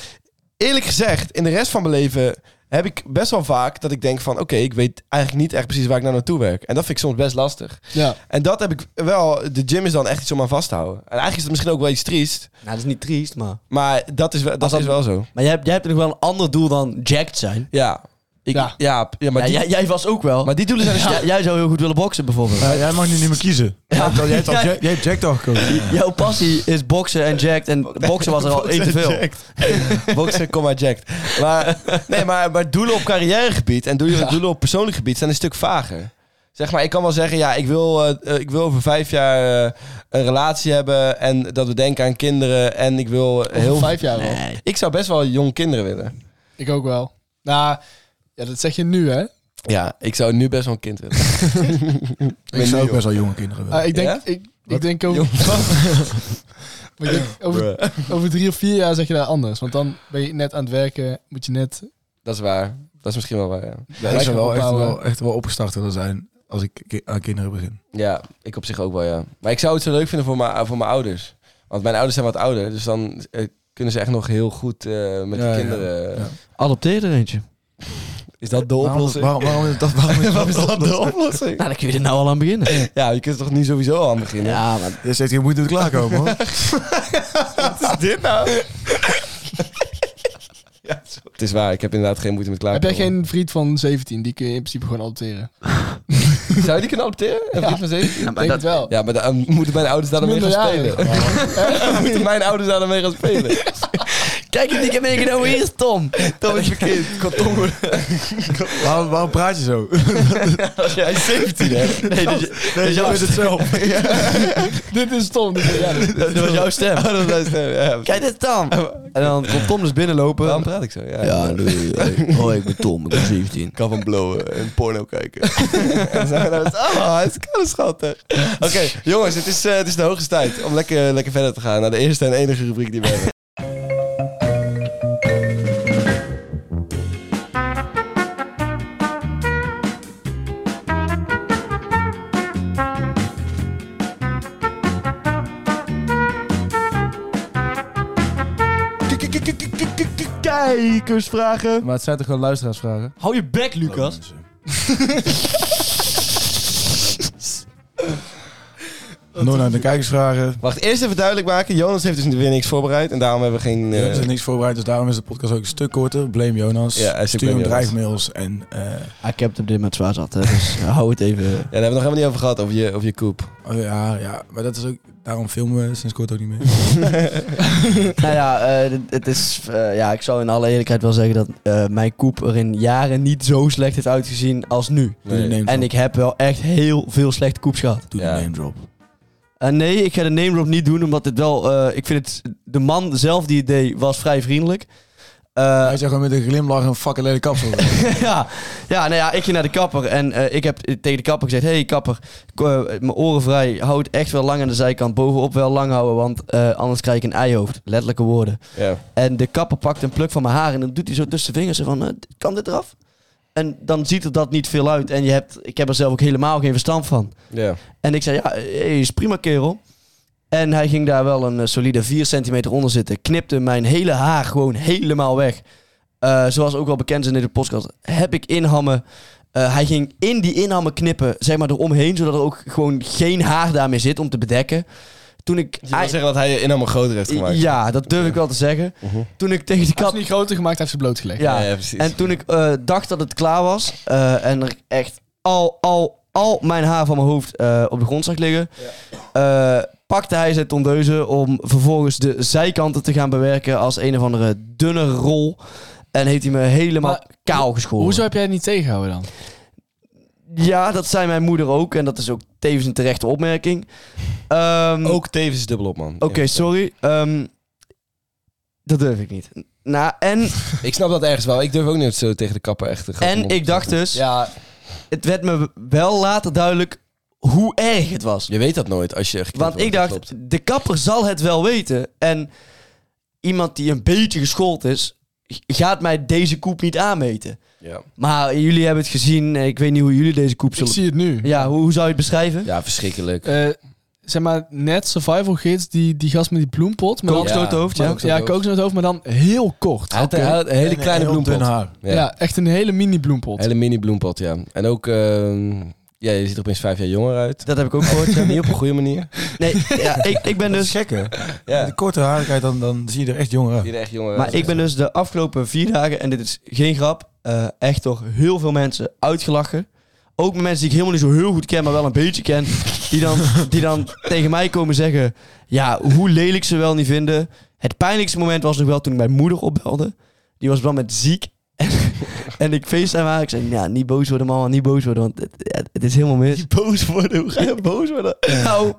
B: eerlijk gezegd, in de rest van mijn leven heb ik best wel vaak dat ik denk van, oké, ik weet eigenlijk niet echt precies waar ik nou naartoe werk. En dat vind ik soms best lastig.
C: Ja.
B: En dat heb ik wel, de gym is dan echt iets om aan vast te houden. En eigenlijk is het misschien ook wel iets triest,
D: Nou, dat is niet triest, maar...
B: maar dat is wel, dat
D: Als dat-
B: is wel zo.
D: Maar jij hebt, jij hebt nog wel een ander doel dan jacked zijn.
B: Ja. Ik, ja.
C: Ja.
B: Ja, maar,
D: Ja,
B: die,
D: jij, jij was ook wel. Dus
B: maar die doelen zijn...
D: Jij- jij zou heel goed willen boksen, bijvoorbeeld.
E: Ja, jij mag nu niet meer kiezen. Ja. Jij hebt al
D: Ja.
E: Jack- jij hebt Jack al gekozen.
D: Jouw passie is boksen en jacked. En boksen was er al één te veel.
B: Boksen, comma, jacked. Maar, nee, maar, maar doelen op carrièregebied en doelen, doelen op persoonlijk gebied zijn een stuk vager. Zeg maar, ik kan wel zeggen, ja, ik wil, eh, eh, ik wil over vijf jaar eh, een relatie hebben en dat we denken aan kinderen en ik wil
C: Over
B: heel...
C: vijf jaar wel.
D: Nee.
B: Ik zou best wel jong kinderen willen.
C: Ik ook wel. Nou, ja, dat zeg je nu, hè.
B: Ja, ik zou nu best wel een kind willen.
E: Ik zou ook best wel jonge kinderen willen.
C: Ah, ik denk,
B: Ja?
C: ik,
B: Wat?
C: ik denk over, Maar ik denk over, over drie of vier jaar zeg je daar anders. Want dan ben je net aan het werken, moet je net...
B: Dat is waar. Dat is misschien wel waar, ja.
E: Ja, ik zou wel echt,
C: opbouwen.
E: wel echt wel opgestart willen zijn als ik ki- aan kinderen begin.
B: Ja, ik op zich ook wel, ja. Maar ik zou het zo leuk vinden voor mijn, voor mijn ouders. Want mijn ouders zijn wat ouder, dus dan eh, kunnen ze echt nog heel goed eh, met
E: Ja, ja.
B: de kinderen...
E: Ja.
D: Adopteer er eentje.
B: Is dat de oplossing?
E: Waarom, waarom, waarom is dat? Waarom is dat,
B: oplossing?
D: Nou, dan kun je er nou al aan beginnen.
B: Ja, je kunt er toch nu sowieso al aan beginnen?
D: Ja, maar...
E: Je zegt, je moet het klaarkomen, hoor.
B: Wat is dit nou? het is waar, ik heb inderdaad geen moeite met
C: heb
B: klaarkomen.
C: jij geen vriend van 17, die kun je in principe gewoon adopteren.
B: Zou je die kunnen adopteren? Een vriend van 17?
C: Ik denk het wel.
B: Ja, maar dan moeten mijn ouders daar dan mee gaan
C: Minderjarig.
B: spelen. moeten mijn ouders daar dan mee gaan spelen.
D: Kijk wat ik heb meegenomen hier, is Tom.
B: Dat is verkeerd. Kantoor.
E: Waarom, waarom praat je zo?
B: Als jij 17 hebt.
D: Nee, dat,
E: Nee, zo is het zelf.
C: Dit is stom. Dit is- ja, dit-
D: dat was jouw stem.
B: Oh, dat is ja.
D: Kijk, dit is Tom. En dan komt Tom dus binnenlopen.
B: Waarom praat ik zo? Ja,
D: doei. Hey. Hoi, Oh, ik ben Tom, ik ben 17.
B: Ik kan van blowen en porno kijken. en zo, nou, het is allemaal hartstikke schattig. Oké, jongens, het is, eh, het is de hoogste tijd om lekker, lekker verder te gaan naar de eerste en enige rubriek die we hebben. Kijkersvragen.
E: Maar het zijn toch gewoon luisteraarsvragen?
D: Hou je bek, Lucas.
E: Nog naar de kijkersvragen.
B: Wacht, eerst even duidelijk maken. Jonas heeft dus weer niks voorbereid en daarom hebben we geen... eh,
E: Er is niks voorbereid, dus daarom is de podcast ook een stuk korter. Blame Jonas.
B: Ja, hij is ook
E: Stuur hem
B: blame Jonas.
E: drijfmails en... eh,
D: ik heb het hem dit met zwaar zat, hè, dus hou het even...
B: Ja, daar hebben we nog helemaal niet over gehad, over je, over je koep.
E: oh ja, ja, maar dat is ook... Daarom filmen we sinds kort ook niet meer.
D: nou ja, eh, dit- het is, eh, ja, ik zou in alle eerlijkheid wel zeggen dat eh, mijn koep er in jaren niet zo slecht heeft uitgezien als nu.
E: Doe de name drop.
D: En ik heb wel echt heel veel slechte koeps gehad.
E: Doe
B: Ja.
E: de name drop.
D: Eh, nee, ik ga de name drop niet doen, omdat dit wel... eh, ik vind het... De man zelf die het deed, was vrij vriendelijk. Eh,
E: Hij zou gewoon met een glimlach een fucking lelijke kapsel.
D: ja, ja, nou ja, ik ging naar de kapper en eh, ik heb tegen de kapper gezegd: hey, kapper, k- eh, mijn oren vrij, houd echt wel lang aan de zijkant, bovenop wel lang houden, want eh, anders krijg ik een eihoofd. Letterlijke woorden.
B: Ja.
D: En de kapper pakt een pluk van mijn haar en dan doet hij zo tussen de vingers en van, eh, kan dit eraf? En dan ziet er dat niet veel uit en je hebt, ik heb er zelf ook helemaal geen verstand van.
B: Ja.
D: En ik zei, ja, hey, is prima kerel. En hij ging daar wel een eh, solide 4 centimeter onder zitten. Knipte mijn hele haar gewoon helemaal weg. Eh, zoals ook wel bekend is in deze podcast, heb ik inhammen. Eh, hij ging in die inhammen knippen, zeg maar eromheen, zodat er ook gewoon geen haar daarmee zit om te bedekken. Toen ik.
B: Je wil zeggen dat hij je in helemaal groter heeft gemaakt.
D: ja, dat durf ik wel te zeggen. Toen ik tegen die
C: Hij is
D: kap.
C: niet groter gemaakt, hij heeft ze blootgelegd.
D: Mhm. Ja,
B: Ja, ja, precies.
D: en toen ik eh, dacht dat het klaar was eh, en er echt al, al, al mijn haar van mijn hoofd eh, op de grond zag liggen, eh, pakte hij zijn tondeuze om vervolgens de zijkanten te gaan bewerken als een of andere dunne rol. En heeft hij me helemaal
C: Maar
D: kaal geschoren.
C: Hoezo heb jij het niet tegengehouden dan?
D: Ja, dat zei mijn moeder ook en dat is ook tevens een terechte opmerking. Ehm,
B: Ook tevens dubbel op, man.
D: Oké, sorry. Ehm, dat durf ik niet. Nou, en,
B: Ik snap dat ergens wel. Ik durf ook niet zo tegen de kapper echt te gaan.
D: en ik dacht dus...
B: Ja,
D: het werd me wel later duidelijk hoe erg het was.
B: je weet dat nooit als je geknipt
D: Want
B: wordt,
D: ik
B: dat
D: dacht,
B: klopt.
D: de kapper zal het wel weten. En iemand die een beetje geschoold is, g- gaat mij deze koep niet aanmeten.
B: Ja.
D: Maar jullie hebben het gezien. en Ik weet niet hoe jullie deze koep
C: Ik
D: zullen...
C: zie het nu.
D: Ja, hoe, hoe zou je het beschrijven?
B: ja, verschrikkelijk.
C: Eh, zeg maar, net survival gids, die, die gast met die bloempot. Maar dan,
D: Kook- Kookstoot hoofd, ja.
B: kookstoot
C: ja,
B: hoofd.
C: kook ze met het hoofd, maar dan heel kort.
B: Hij had, hij had een hele
E: En
B: kleine
E: heel
B: bloempot.
E: dun haar.
B: Ja.
C: Ja, echt een hele mini bloempot.
B: Hele mini bloempot, ja. En ook, ehm, ja, je ziet er opeens vijf jaar jonger uit.
D: Dat heb ik ook gehoord. ja.
B: Niet op een goede manier.
D: Nee, ja, ik, ik ben
E: Dat is
D: dus...
E: gek, hè? De
B: Ja.
E: korte harigheid, dan, dan zie je er echt jonger uit.
B: Die er echt jonger
D: Maar
B: uit.
D: ik ben dus de afgelopen vier dagen, en dit is geen grap, eh, echt door heel veel mensen uitgelachen. Ook met mensen die ik helemaal niet zo heel goed ken, maar wel een beetje ken. Die dan, die dan tegen mij komen zeggen, ja, hoe lelijk ze wel niet vinden. Het pijnlijkste moment was nog wel toen ik mijn moeder opbelde. Die was op dat moment ziek. en ik facetime haar. Ik zei, ja, niet boos worden mama, niet boos worden. Want het, het- het is helemaal mis. Niet boos worden? Hoe ga je boos worden? Nou,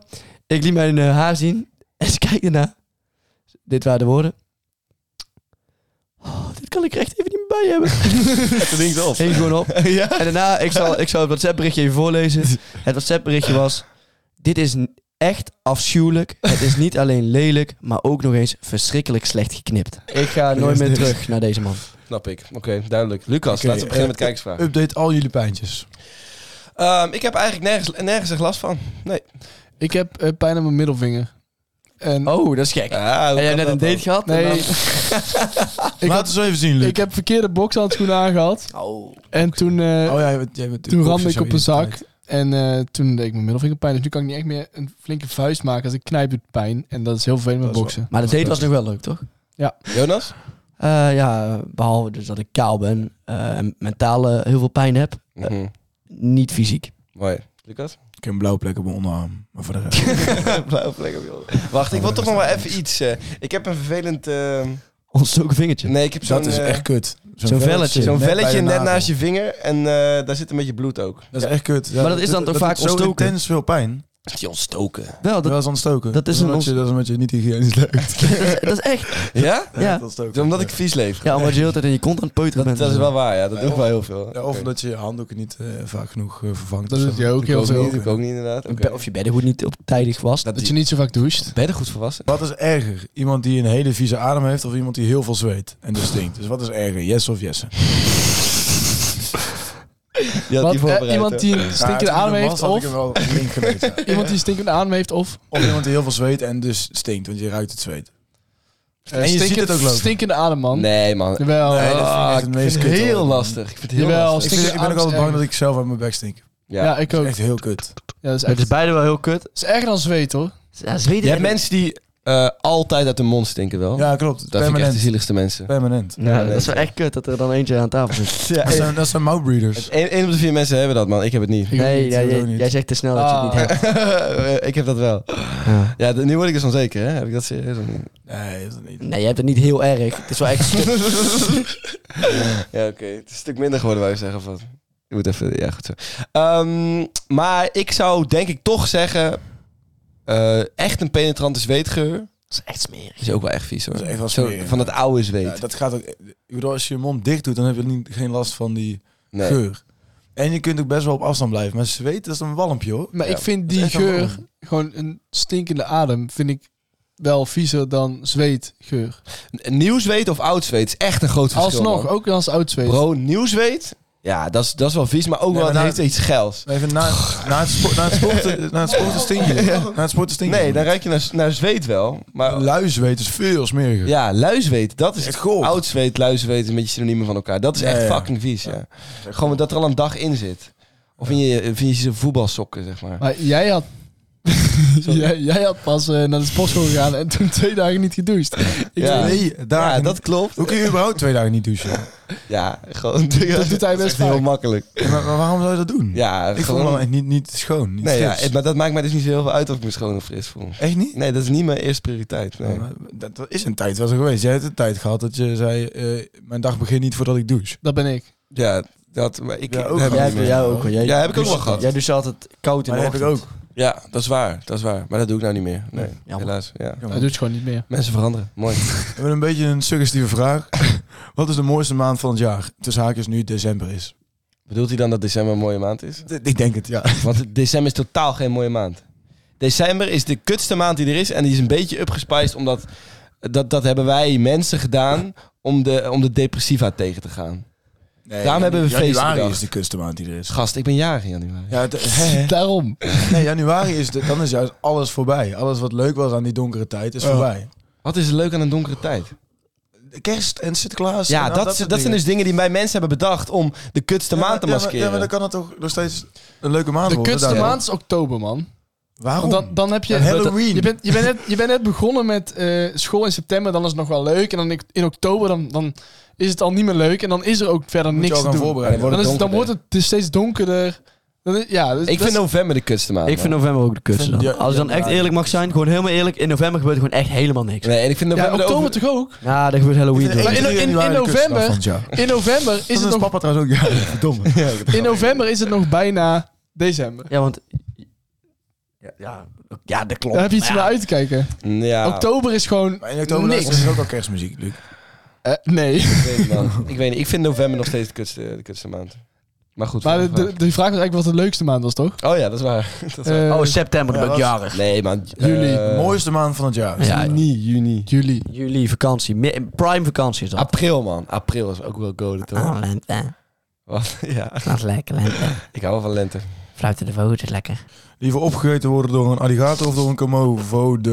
D: ik liet mijn eh, haar zien. En ze kijkt ernaar. Dit waren de woorden. Oh, dit kan ik er echt even niet bij hebben.
B: het ding op.
D: Hing gewoon op. En daarna, ik zal, ik zal het WhatsApp berichtje even voorlezen. Het WhatsApp berichtje was... Dit is n- echt afschuwelijk. Het is niet alleen lelijk, maar ook nog eens verschrikkelijk slecht geknipt. Ik ga nooit meer terug naar deze man.
B: dus Snap ik. Oké, duidelijk. Lucas,
E: Oké,
B: laten we beginnen met
E: eh,
B: kijkersvragen.
E: Update al jullie pijntjes.
B: Ehm, ik heb eigenlijk nergens, nergens echt last van.
C: Ik heb eh, pijn aan mijn middelvinger. En
D: Oh, dat is gek.
B: Ah,
D: Heb jij net een date gehad?
C: nee,
D: En
C: ik,
E: Laten
C: had,
E: we zo even zien, Luc.
C: ik heb verkeerde bokshandschoenen aangehad.
D: dan- Oh.
C: En toen, eh,
E: oh, ja, jij bent- jij bent
C: toen
E: natuurlijk
C: ramde ik
E: zo
C: op een zak.
E: irritant.
C: En eh, toen deed ik mijn middelvinger pijn. Dus nu kan ik niet echt meer een flinke vuist maken. Als ik knijp doet pijn. En dat is heel vervelend met
E: Dat is
C: boksen.
D: Maar de date was nog wel leuk, toch?
B: Jonas?
D: Eh, ja, behalve dus dat ik kaal ben eh, en mentaal eh, heel veel pijn heb.
B: Mhm.
D: Niet fysiek.
B: Mooi. Lucas?
E: Ik heb een blauwe plek op mijn onderarm. Maar voor de rest.
B: Blauwe plek op je Wacht, ik wil toch nog wel even iets. eh, ik heb een vervelend... ehm,
D: Ontstoken vingertje.
B: nee, ik heb zo'n...
E: dat is
B: eh,
E: echt kut.
D: zo'n velletje.
B: Zo'n
E: net bij
B: velletje
E: de
B: net
E: navel.
B: naast je vinger en eh, daar zit een beetje bloed ook.
E: Dat is echt kut. Ja,
D: Maar dat is dan toch vaak
E: doet zo
D: ontstoken?
E: intens veel pijn.
B: Is die ontstoken?
D: Wel,
E: Dat,
D: Nou, dat,
E: is ontstoken.
D: dat is een
E: omdat je, dat is omdat je niet hygiënisch leukt.
D: dat, is- dat is echt.
B: Ja?
D: Ja.
E: Dat is ontstoken.
B: Omdat ik vies leef.
D: Ja, omdat je de hele tijd in je kont aan het peuteren
B: Dat,
D: bent.
B: dat is wel waar, ja. Dat
E: Ja,
B: doe ik
E: of-
B: wel heel veel.
E: Ja, of
B: Oké.
E: dat je je handdoeken niet eh, vaak genoeg eh, vervangt.
C: Dat
E: of
C: doet
E: zo.
C: je ook
E: Ik
C: heel
B: Ik
C: veel.
B: niet, doe ik ook niet inderdaad.
D: Een
B: Oké.
D: be- Of je beddengoed niet op tijdig was.
B: Dat
C: Dat
B: je
C: je niet zo vaak doucht.
B: bedden goed volwassen.
E: Wat is erger? Iemand die een hele vieze adem heeft of iemand die heel veel zweet en dus stinkt? Dus wat is erger? Yes of yes?
B: Je had
C: Wat,
B: die
C: eh,
B: voorbereid.
C: iemand die een stinkende adem heeft.
E: Of...
C: Of
E: wel link gelegd, ja.
C: iemand die een stinkende adem heeft. Of
E: Of iemand die heel veel zweet en dus stinkt, want je ruikt het zweet.
C: eh,
E: En je ziet
C: stinkend-
E: het ook lopen.
C: stinkende adem, man.
B: Nee, man.
C: Jawel.
E: Nee, dat vind ik
B: Ah,
E: echt het
B: ik
E: meest
B: vind
E: kut
B: heel
E: hoor.
B: lastig. Ik vind het heel
C: Jawel,
B: lastig.
E: Ik, vind- ik ben ook altijd bang dat ik zelf uit mijn bek stink.
C: ja.
B: Ja.
C: ik
E: Dat
C: ook.
E: is echt heel kut.
C: Ja, dat is
D: Het
C: echt,
D: is beide wel heel kut.
C: dat is erger dan zweet, hoor.
D: Ja, Zweden
B: Je hebt mensen die eh, altijd uit hun mond stinken wel.
E: Ja,
B: Dat vind
E: klopt.
B: ik echt
E: Permanent.
B: de zieligste mensen.
E: Permanent.
D: Ja,
B: nee.
D: dat is wel echt kut dat er dan eentje aan tafel zit.
B: Ja,
E: Dat zijn, dat zijn mouwbreeders.
B: Eén één op de vier mensen hebben dat, man. Ik heb het niet.
C: Ik ook
D: Nee,
C: niet.
D: ja,
E: ik
D: jij,
E: ook niet.
D: jij zegt te snel dat je het niet
C: Ah.
D: hebt.
B: ik heb dat wel.
D: Ja.
B: Ja, de- nu word ik dus onzeker, hè? Heb ik dat serieus of niet?
E: Nee, dat is niet.
D: Nee, je hebt het niet heel erg. Het is wel echt kut.
B: Ja, oké. Het is een stuk minder geworden, wou je zeggen. Van. Je moet even... Ja, goed zo. Ehm, maar ik zou denk ik toch zeggen... eh, echt een penetrante zweetgeur.
D: Dat is echt smerig.
B: Is ook wel echt vies, hoor.
E: Dat is echt wel
B: Zo,
E: smerig.
B: van het oude zweet.
E: Ja, dat gaat ook. Ik bedoel, als je je mond dicht doet, dan heb je niet, geen last van die
B: nee.
E: geur. En je kunt ook best wel op afstand blijven. Maar zweet, dat is een walmpje hoor.
C: Maar
B: Ja,
C: ik vind
E: dat is
C: die
E: echt wel
C: geur, gewoon een stinkende adem, vind ik wel viezer dan zweetgeur.
B: Nieuw zweet of oud zweet is echt een groot verschil,
C: Alsnog,
B: man.
C: ook als oud zweet.
B: Bro, nieuw zweet Ja, dat is, dat is wel vies, maar ook
E: Nee,
B: wel het
E: maar nou-
B: heeft iets geils.
E: Even na, na, het sport, na het sporten, na het sporten stink je. Na het sporten stink je.
B: Nee, dan ruik je naar, naar zweet wel. Maar
E: Luizweet is veel smeriger.
B: ja, luizweet, dat is
E: Echt goor.
B: Oud zweet, luizweet, een beetje synoniemen van elkaar. Dat is
E: Ja,
B: echt
E: ja.
B: fucking vies, ja. Gewoon dat er al een dag in zit. Of in je, of in je voetbalsokken, zeg maar.
C: Maar jij had... jij, jij had pas eh, naar de sportschool gegaan en toen twee dagen niet gedoucht. Ik
B: Ja.
E: Nee, daar.
B: Ja, dat klopt.
E: Hoe kun je überhaupt twee dagen niet douchen?
B: Ja, gewoon...
C: Dat doet hij
B: is
C: best
B: echt heel
C: vaak.
B: makkelijk.
E: Ja, maar, maar waarom zou je dat doen?
B: Ja,
E: ik vond
B: gewoon...
E: het wel echt niet, niet schoon. Niet
B: nee, ja,
E: fris.
B: maar dat maakt mij dus niet zo heel veel uit of ik me schoon of fris voel.
E: echt niet?
B: Nee, dat is niet mijn eerste prioriteit. Nee.
E: Ja, maar dat, dat is een tijd wel zo geweest. Jij hebt een tijd gehad dat je zei, eh, mijn dag begint niet voordat ik douche.
C: Dat ben ik.
B: Ja, dat, maar ik,
E: Ja, ook
B: heb
E: wel.
D: Jij
B: ik
D: hebt
B: niet
D: jou
B: meer.
D: ook wel. Jij
B: Ja, heb ik ook wel
D: doucht-
B: gehad.
D: Jij doucht altijd koud in
E: Maar
D: de
E: dat heb ik
D: ochtend.
E: ook.
B: Ja, dat is waar. Dat is waar. Maar dat doe ik nou niet meer. Nee,
D: Jammer.
B: helaas. Ja.
E: Ja,
C: Dat doet gewoon niet meer.
B: Mensen veranderen. Mooi.
E: We hebben een beetje een suggestieve vraag. Wat is de mooiste maand van het jaar? Tussen haakjes nu december is.
B: Bedoelt hij dan dat december een mooie maand is?
E: Ik denk het, ja.
B: Want december is totaal geen mooie maand. December is de kutste maand die er is. En die is een beetje upgespiced omdat... Dat, dat hebben wij mensen gedaan om de, om de depressiva tegen te gaan. Daarom hebben we feesten
E: Januari
B: bedacht.
E: is de kunstmaand die er is.
B: Gast, ik ben jarig in januari.
E: Ja, het- hè, hè.
C: Daarom.
E: Nee, januari is, de, dan is juist alles voorbij. Alles wat leuk was aan die donkere tijd is
C: Ja.
E: voorbij.
B: Wat is er leuk aan een donkere tijd?
E: Kerst en Sinterklaas. en
B: Ja,
E: al
B: dat, is-
E: nou, soort
B: dat zijn
E: dingen.
B: dus dingen die wij mensen hebben bedacht om de kutste
E: Ja, maar-
B: maand te
E: ja, maar-
B: maskeren.
E: Ja, maar dan kan het toch nog steeds een leuke maand
C: De
E: worden.
C: kutste
E: daarom.
C: maand is oktober, man.
E: Waarom?
C: Want dan, dan heb je...
E: En Halloween.
C: Je bent, je, bent net, je bent net begonnen met eh, school in september, dan is het nog wel leuk. En dan ik- in oktober, dan, dan is het al niet meer leuk. En dan is er ook verder
E: Moet je
C: niks
E: al
C: te
E: gaan
C: doen.
E: voorbereiden.
C: Dan, is het, dan
B: donkerder.
C: wordt het dus steeds donkerder. Dan is- ja, dus,
B: ik
C: dat
B: vind
C: is-
B: november de kutste maand.
D: Ik vind
B: man.
D: november ook de kutste
E: Vind-
D: dan.
E: ja,
D: Als ik dan
E: ja,
D: echt
E: ja.
D: eerlijk mag zijn, gewoon helemaal eerlijk. In november gebeurt er gewoon echt helemaal niks.
B: Nee, en ik vind
C: ja,
B: november de
C: oktober
B: over-
C: toch ook?
D: Ja, er gebeurt Halloween
E: Ik vind
D: door.
C: Maar Eh, in- in- in
E: januari de kutste
C: november-
E: maand van het jaar.
C: In november is,
E: Dan
C: het
E: is
C: nog,
E: papa trouwens ook ja, verdomme.
C: in november is het nog bijna december.
D: Ja, want... Ja, ja, ja, dat klopt.
C: Daar heb je iets
D: Maar
C: om naar uit te kijken.
B: Ja,
C: Oktober is gewoon
E: Maar in oktober
C: niks.
E: luisteren ze ook al kerstmuziek, Luc.
C: Eh, nee,
B: ik weet, niet, man. ik weet niet. Ik vind november nog steeds de kutste, de kutste maand. Maar goed.
C: maar de,
B: volgende
C: de, de vraag was eigenlijk wat de leukste maand was, toch?
B: vraag. Oh ja, dat is waar. Dat is waar.
C: Eh,
D: Oh, september, dan ben ik
E: Ja,
D: jarig.
B: Nee, man.
C: juli.
B: eh,
E: Mooiste maand van het jaar.
D: Ja,
B: Juni, juni.
C: juli.
D: Juli, vakantie. Mi- Prime vakantie is dat.
B: April, man. April is ook wel golden, toch?
F: Oh, lente.
B: Wat? Ja,
F: Dat is lekker, lente.
B: ik hou wel van lente.
F: Fruit in de vogels is lekker.
E: Liever opgegeten worden door een alligator of door een komodo.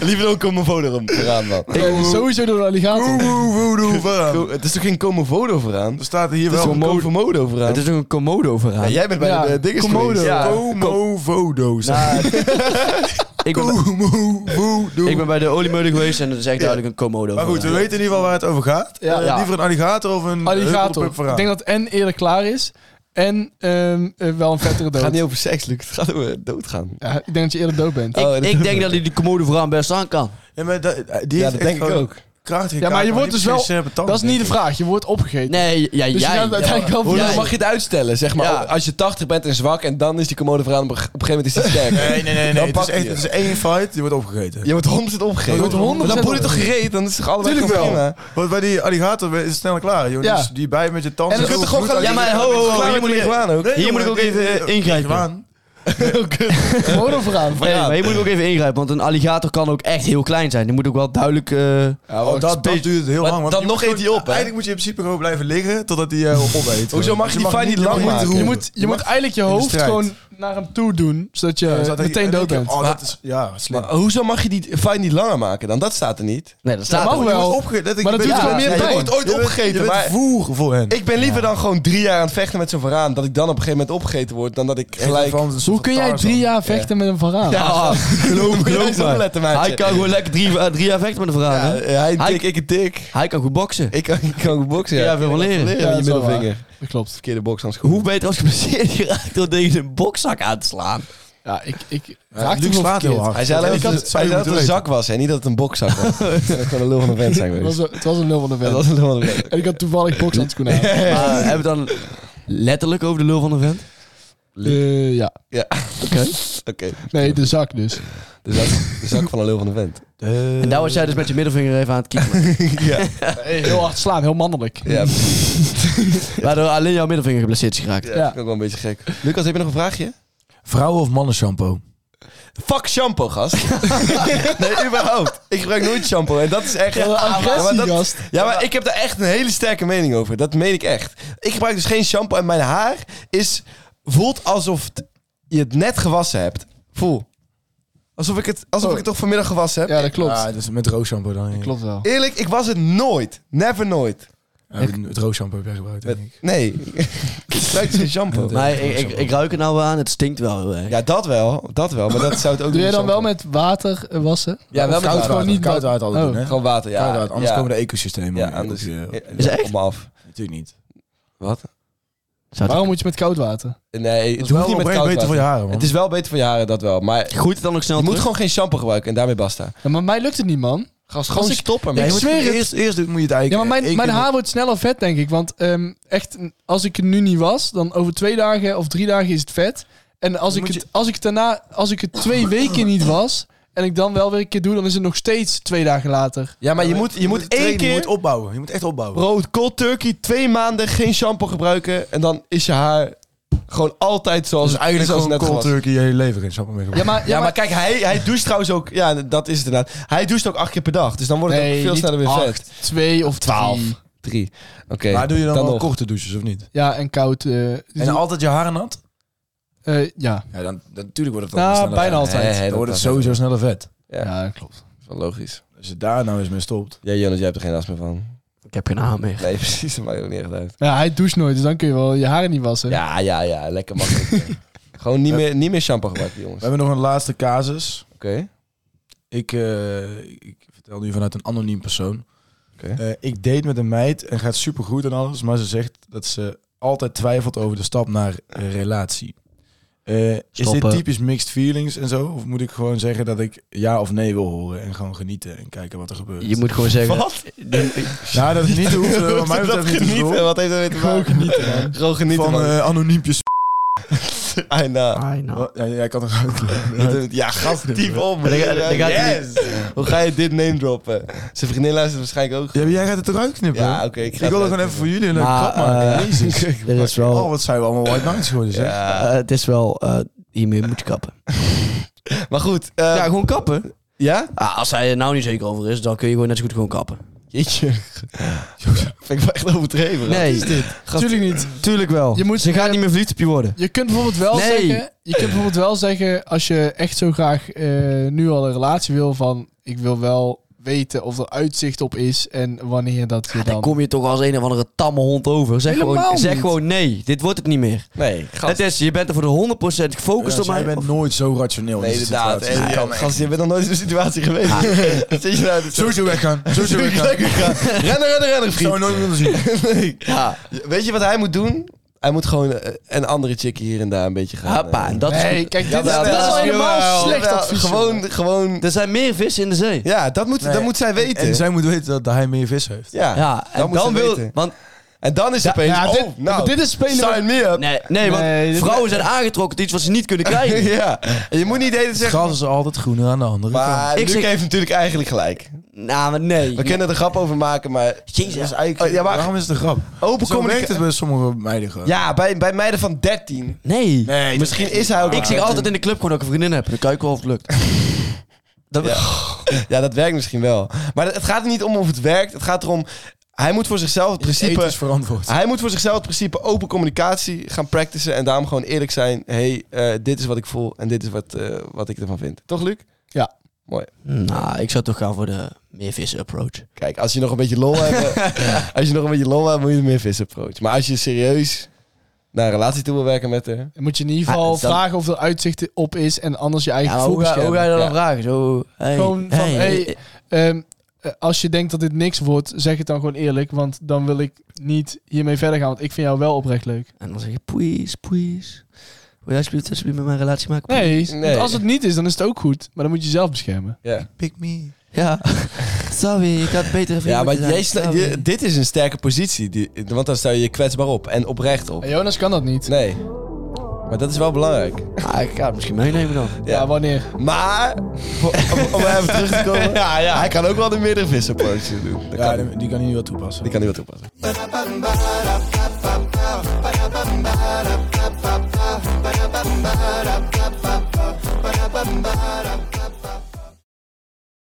B: Liever ook Comovodo vooraan, man.
C: Eh, sowieso door de alligator.
E: Komodo varaan.
B: Het is toch geen Comovodo vooraan?
E: Er staat hier
B: Het is
E: wel
B: toch Comovodo vooraan?
D: Het is ook een Komodo verhaal.
B: Ja, jij bent bij
C: Ja,
B: de eh, dinges
C: Komodo.
B: geweest. Ja.
E: Komovodo.
D: Nou,
E: staat er.
D: ik, ben,
E: Komovodo.
D: ik ben bij de oliemolen geweest en dat is echt duidelijk een Komodo
E: Maar goed, we
D: verhaal.
E: weten in ieder geval waar het over gaat.
C: Ja.
E: Eh,
C: Ja.
E: Liever een alligator of een
C: Alligator.
E: huppelpup
C: Ik
E: varaan.
C: denk dat en eerder klaar is. En ehm, eh, wel een vettere
B: Het
C: dood.
B: gaat niet over seks, Luc. Het gaat over doodgaan.
C: Ja, ik denk dat je eerder dood bent.
B: Oh, dat
D: Ik,
B: is-
D: ik denk dat hij die Komodo verhaal best aan kan.
E: Ja, maar dat, die
B: Ja,
E: heeft
B: dat
E: echt
B: denk ik
E: gewoon
B: ook.
E: krachtige
C: Ja, maar
E: kaak,
C: je wordt
E: die
C: dus wel-
E: heeft geen scherpe tanden,
C: dat is niet de
E: denk ik.
C: vraag. Je wordt opgegeten.
D: Nee, ja,
C: Dus
D: jij.
C: je gaat uiteindelijk wel
B: Hoe
C: voor-
B: lang mag je het uitstellen? Zeg maar,
D: Ja.
B: als je 80 bent en zwak en dan is die commode verhaal op een gegeven moment is die sterk.
E: Nee, nee, nee. nee.
B: Dan
E: Het,
B: pak
E: is
B: je
E: echt,
B: je.
E: het is één fight, die wordt opgegeten.
B: Je wordt 100 opgegeven.
E: Je wordt 100%
B: Dan boel je toch gereed? Dan is het toch allebei
E: Tuurlijk
B: gewoon
E: wel.
B: prima?
E: Want bij die alligator is het sneller klaar, joh.
C: Ja.
E: Dus die bij met je tanden...
B: En dan kunt er gewoon gaan
D: Ja, maar ho, ho, ho, hier moet ik,
B: gewoon ook.
D: hier moet ik ook even eh, ingrijpen.
E: Aan.
C: Gewoon een verhaal.
D: Nee, maar hier moet ik ook even ingrijpen, want een alligator kan ook echt heel klein zijn. Die moet ook wel duidelijk... eh,
B: Ja,
E: Oh, dat, dat duurt heel
B: Maar
E: lang. want
B: dan
E: je
B: nog
E: moet
B: eet die
E: gewoon-
B: op, hè?
E: Eigenlijk moet je in principe gewoon blijven liggen totdat hij eh opeet.
B: Hoezo mag je die fight niet lang
C: Je
B: maken?
C: moet, je moet, je moet eigenlijk je hoofd
E: strijd.
C: gewoon naar hem toe doen. Zodat je eh, meteen dood bent.
E: Oh, dat is... Ja, slim.
B: Maar hoezo mag je die fijn niet langer maken dan? Dat staat er niet.
D: Nee, dat
C: Dat
D: staat
C: mag
D: er.
C: wel.
E: Je wordt opge- dat- ik
C: Maar dat
E: ben-
C: doet
E: ja,
C: gewoon meer
E: ja,
C: pijn.
E: Je wordt ooit
B: Je bent-
E: opgegeten,
B: je bent
E: maar... voer voor hen.
B: Ik ben liever dan gewoon drie jaar aan het vechten met zo'n veraan. Dat ik dan op een gegeven moment opgegeten word. Dan dat ik gelijk...
C: Hoe kun jij drie jaar vechten met een verhaal?
D: Ja, geloof, geloof
B: Zo'n
D: me.
B: lettermaatje.
D: Hij kan gewoon lekker drie, eh, drie jaar vechten met een verhaal.
B: Ja,
D: hè?
B: hij
D: Hij-
B: dik, ik een dik.
D: Hij kan goed boksen.
B: Ik kan, ik kan goed boksen,
D: Ja, veel van leren.
B: Leren
C: Ja,
B: met
C: dat
B: je
C: is wel
B: middelvinger.
C: Dat klopt.
B: Verkeerde bokshandschoen.
D: Hoe beter als geblesseerd geraakt door tegen een bokzak aan te slaan.
C: Ja, ik, ik raakte
E: Raakt
C: hem
E: slaat heel
C: verkeerd.
E: hard.
B: Hij zei
E: Ja,
B: alleen
E: ik
B: dat
E: had-
B: het, hij
E: zou
B: zei
E: je
B: dat het een
E: moeten
B: zak was en niet dat het een bokzak was. dat kan een lul van een vent zijn
C: Het was,
B: geweest.
C: een- het was een nul van de
B: Dat was
C: vent.
B: een lul van een vent.
C: En ik had toevallig bokshandschoenen aan.
D: Maar hebben we het dan letterlijk over de lul van de vent?
C: Eh, ja.
B: Ja.
C: Oké.
B: Oké.
C: Nee, de zak dus.
B: De zak, de zak van een lul van een vent.
D: En daar was jij dus met je middelvinger even aan het kiezen.
B: ja.
C: Heel hard slaan, heel mannelijk.
B: Ja, precies.
D: Waardoor alleen jouw middelvinger geblesseerd is geraakt.
B: ja, dat vind ik ook wel een beetje gek. Lucas, heb je nog een vraagje?
E: Vrouwen of mannen shampoo?
B: Fuck shampoo, gast. nee, überhaupt. Ik gebruik nooit shampoo. En dat is echt...
C: Ja, agressie,
B: maar dat-
C: gast.
B: ja, maar ik heb daar echt een hele sterke mening over. Dat meen ik echt. Ik gebruik dus geen shampoo en mijn haar is, voelt alsof het- je het net gewassen hebt. Voel. Alsof ik het, alsof
C: Oh.
B: ik het toch vanmiddag gewassen heb.
C: Ja, dat klopt.
E: Ah, dus met roos shampoo dan. ja.
C: Klopt wel.
B: Eerlijk, ik was het nooit. Never nooit.
E: Ja, het roos shampoo heb jij gebruikt, denk ik.
B: Nee. ik gebruik dus geen shampoo.
D: Maar ik, ik, ik ruik er nou wel aan, het stinkt wel heel erg.
B: Ja, dat wel. Dat wel. Maar dat zou het ook
C: Doe jij
B: niet
C: dan wel
B: shampoo-
C: met water eh, wassen?
B: Ja, wel met
E: Of koud
B: koud
E: water.
C: gewoon niet
E: koud water altijd
C: Oh.
E: doen, hè?
B: Gewoon water, ja.
E: Koud water, anders
B: ja.
E: komen de ecosystemen.
B: Ja,
E: op je-
B: anders...
E: op je-
D: Is echt?
B: Op me af.
E: Natuurlijk niet.
B: Wat?
F: Zou het-
C: Waarom moet je met koud water?
B: Nee,
E: Het
B: het hoeft niet met koud
E: beter
B: water.
E: voor je haren, man.
B: Het is wel beter voor je haren, dat wel. Maar
D: Groeit het dan ook snel
B: je moet
D: terug?
B: gewoon geen shampoo gebruiken en daarmee basta.
C: Ja, maar mij lukt het niet, man.
B: Gast,
C: gewoon
B: stoppen.
C: ik
E: je moet-
C: zweer het.
E: Eerst, eerst moet je het eigenlijk...
C: Ja, maar mijn,
E: ik-
C: mijn haar wordt sneller vet, denk ik. Want ehm, echt, als ik het nu niet was, dan over twee dagen of drie dagen is het vet. En als, ik
E: moet
C: het, als ik daarna, als ik het twee weken niet was en ik dan wel weer een keer doe, dan is het nog steeds twee dagen later.
B: Ja, maar je moet, je moet
E: het trainen,
B: één
E: Je
B: keer...
E: moet opbouwen. Je moet echt opbouwen.
B: Bro, cold turkey, twee maanden geen shampoo gebruiken en dan is je haar gewoon altijd zoals,
E: dus eigenlijk
B: zoals het
E: gewoon
B: net was.
E: cold turkey je hele leven geen shampoo meer
C: Ja, maar, ja,
B: Ja, maar
C: maar,
B: kijk, hij, hij doucht trouwens ook... Ja, dat is het inderdaad. Hij doucht ook acht keer per dag, dus dan wordt het
C: Nee,
B: ook veel
C: niet
B: sneller weer vet.
C: twee of twaalf.
B: Drie. Oké,
E: Maar doe je dan,
B: dan
E: wel
B: nog.
E: korte douches of niet?
C: Ja, en koud. eh,
E: En altijd Dus je haren nat?
C: eh, ja.
E: Ja, dan, dan- natuurlijk wordt het dan
C: Nou,
E: sneller
C: bijna
E: vet.
C: altijd.
B: Nee, nee,
E: Dan wordt
B: dat
E: het
B: was
E: sowieso sneller vet.
B: Ja.
C: Ja, klopt.
B: even- wel logisch.
E: Als je daar nou eens mee stopt.
B: Ja, Jonas, jij hebt er geen last meer van.
F: Ik heb geen haar meer.
B: Nee, precies, dat maakt ook niet echt uit.
C: Ja, hij doucht nooit, dus dan kun je wel je haren niet wassen.
B: Ja, ja, ja, lekker makkelijk. gewoon niet meer, niet meer shampoo gebruiken,
E: We
B: jongens. Oké.
E: hebben nog een laatste casus. Ik, eh, ik vertel nu vanuit een anoniem persoon.
B: Oké.
E: Eh, ik date met een meid en gaat supergoed en alles, maar ze zegt dat ze altijd twijfelt over de stap naar eh, relatie. Eh, is dit
F: Stoppen.
E: typisch mixed feelings en zo? Of moet ik gewoon zeggen dat ik ja of nee wil horen en gewoon genieten en kijken wat er gebeurt?
F: Je moet gewoon zeggen...
E: Nou, dat genieten hoeft eh, wat mij betreft niet te
B: Genieten,
E: doen.
B: wat heeft dat weer te maken? Gewoon genieten, Gewoon genieten,
E: Van
B: man.
E: eh anoniempjes.
B: Ah, nou.
F: Ah, nou.
E: Ja, jij kan er ook.
B: Dat- Ja, gast, diep om.
F: Dan ga- dan gaat hij-
B: Yes! Hoe ga je dit name droppen? Zijn vriendin luistert waarschijnlijk ook.
E: Ja, maar jij gaat het eruit knippen.
B: Ja, oké.
E: ik,
B: ik ga
E: wil er
B: het
E: gewoon even voor jullie een leuke
F: Maar,
E: grap maken.
F: eh,
E: Jezus.
F: Dit is wel...
E: Oh, wat zijn we allemaal white nights geworden, zeg.
B: Ja.
F: eh, het is wel... eh, hiermee moet je kappen.
B: Maar goed. eh,
D: Ja, gewoon kappen.
B: ja?
F: Ah, als hij er nou niet zeker over is, dan kun je gewoon net zo goed gewoon kappen.
B: Jeetje. Vind ik wel echt overdreven.
D: Nee.
B: Wat is dit?
C: Tuurlijk niet.
D: Tuurlijk wel.
C: Je moet-
D: Ze gaan niet meer verliefd op je worden.
C: Je kunt bijvoorbeeld wel
D: Nee.
C: zeggen, je kunt bijvoorbeeld wel zeggen, als je echt zo graag eh, nu al een relatie wil van, ik wil wel weten of er uitzicht op is en wanneer dat je
F: Ja, dan
C: dan.
F: kom je toch als een of andere tamme hond over. Zeg,
C: Helemaal
F: gewoon, zeg
C: niet.
F: gewoon nee, dit wordt het niet meer.
B: Nee, gast.
F: Het is, je bent er voor de 100% gefocust
E: Ja, dus
F: op mij.
E: Jij bent nooit zo rationeel.
B: Nee,
E: in deze
B: inderdaad.
E: situatie.
B: En, ja, gast, je bent nog nooit in zo'n situatie geweest. Wat Zit je nou te-
E: Sowieso weggaan. Sowieso weggaan.
B: Lekker gaan. Rennen, rennen, rennen,
E: Ik
B: vriend.
E: zou nooit meer willen zien.
B: Nee.
F: ja,
B: Weet je wat hij moet doen? Hij moet gewoon eh, een andere chickie hier en daar een beetje gaan.
F: hoppa,
B: eh,
F: en dat is
C: Nee,
F: goed.
C: kijk,
B: Ja,
C: dit, is-
B: wel,
C: dit is
B: wel,
C: helemaal
B: jawel,
C: slecht
B: jawel.
C: advies. jongen.
B: Gewoon, gewoon...
F: Er zijn meer vissen in de zee.
B: Ja, dat moet, dat
E: Nee.
B: moet zij weten.
E: En zij moet weten dat hij meer vis heeft.
B: Ja,
F: Ja, en
B: dat
F: dan,
B: moet ze
F: wil...
B: weten.
F: Want,
B: En dan is het opeens...
C: Ja, dit,
B: oh, nou,
C: dit is spelen. met-
B: sign me up.
F: nee, nee, want
C: Nee, dit-
F: vrouwen zijn aangetrokken tot iets wat ze niet kunnen krijgen.
B: ja, en je moet niet de hele tijd
E: Het
B: zeggen...
E: gras is altijd groener aan de andere kant.
B: Maar
F: Ik
B: Luc
F: zeg-
B: heeft natuurlijk eigenlijk gelijk.
F: nou, maar nee.
B: We kunnen er een grap over maken, maar...
F: Jezus.
E: Dat is eigenlijk,
B: Oh, ja, maar-
E: waarom is het een grap?
B: Open
E: Zo werkt het
B: communicatie...
E: bij sommige meiden gewoon.
B: Ja, bij, bij meiden van 13.
F: Nee.
E: Nee,
B: Misschien is hij ook...
F: Ik zeg altijd in de club gewoon dat ik een vriendin heb. Dan kijk ik wel of het lukt. Dat,
B: Ja, dat werkt misschien wel. Maar het gaat er niet om of het werkt. Het gaat erom... Hij moet voor zichzelf het principe... Ah.
E: is verantwoord.
B: Hij moet voor zichzelf het principe open communicatie gaan practicen. En daarom gewoon eerlijk zijn. hey, eh, dit is wat ik voel en dit is wat, eh, wat ik ervan vind. Toch, Luc?
F: Nou, ik zou toch gaan voor de meer vissen approach.
B: Kijk, als je nog een beetje lol hebt, eh, als je nog een beetje lol hebt, moet je er meer vis approach. Maar als je serieus naar een relatie toe wil werken met haar,
C: Dan moet je in ieder geval
F: Ah, dan-
C: vragen of er uitzicht op is en anders je eigen
F: Ja, maar
C: gevoel
F: hoe, ga, hoe
C: beschermen.
F: ga je dat
B: Ja.
F: dan vragen? Zo, hey,
C: Gewoon van,
F: hey,
C: hey, Ehm, eh, als je denkt dat dit niks wordt, zeg het dan gewoon eerlijk, want dan wil ik niet hiermee verder gaan, want ik vind jou wel oprecht leuk.
F: En dan zeg je, please, please. Wil jij alsjeblieft, alsjeblieft met mijn relatie maken? please?"
C: Nee,
B: Nee.
C: want als het niet is, dan is het ook goed, maar dan moet je jezelf beschermen.
B: ja.
E: Pick me.
F: Ja. Sorry, ik had betere vrienden
B: Ja, maar
F: moeten
B: jij
F: zijn.
B: sta-
F: Sorry.
B: je- dit is een sterke positie, die, want dan stel je je kwetsbaar op en oprecht op.
C: En Jonas kan dat niet.
B: Nee, maar dat is wel belangrijk.
F: Ah, ik ga het misschien meenemen dan.
C: Ja, wanneer?
B: Maar, om, om even terug te komen, hij kan ook wel de meerdere vis approach doen. Dat
E: Ja,
B: kan,
E: die, die kan hij nu wel toepassen.
B: die kan niet wat toepassen.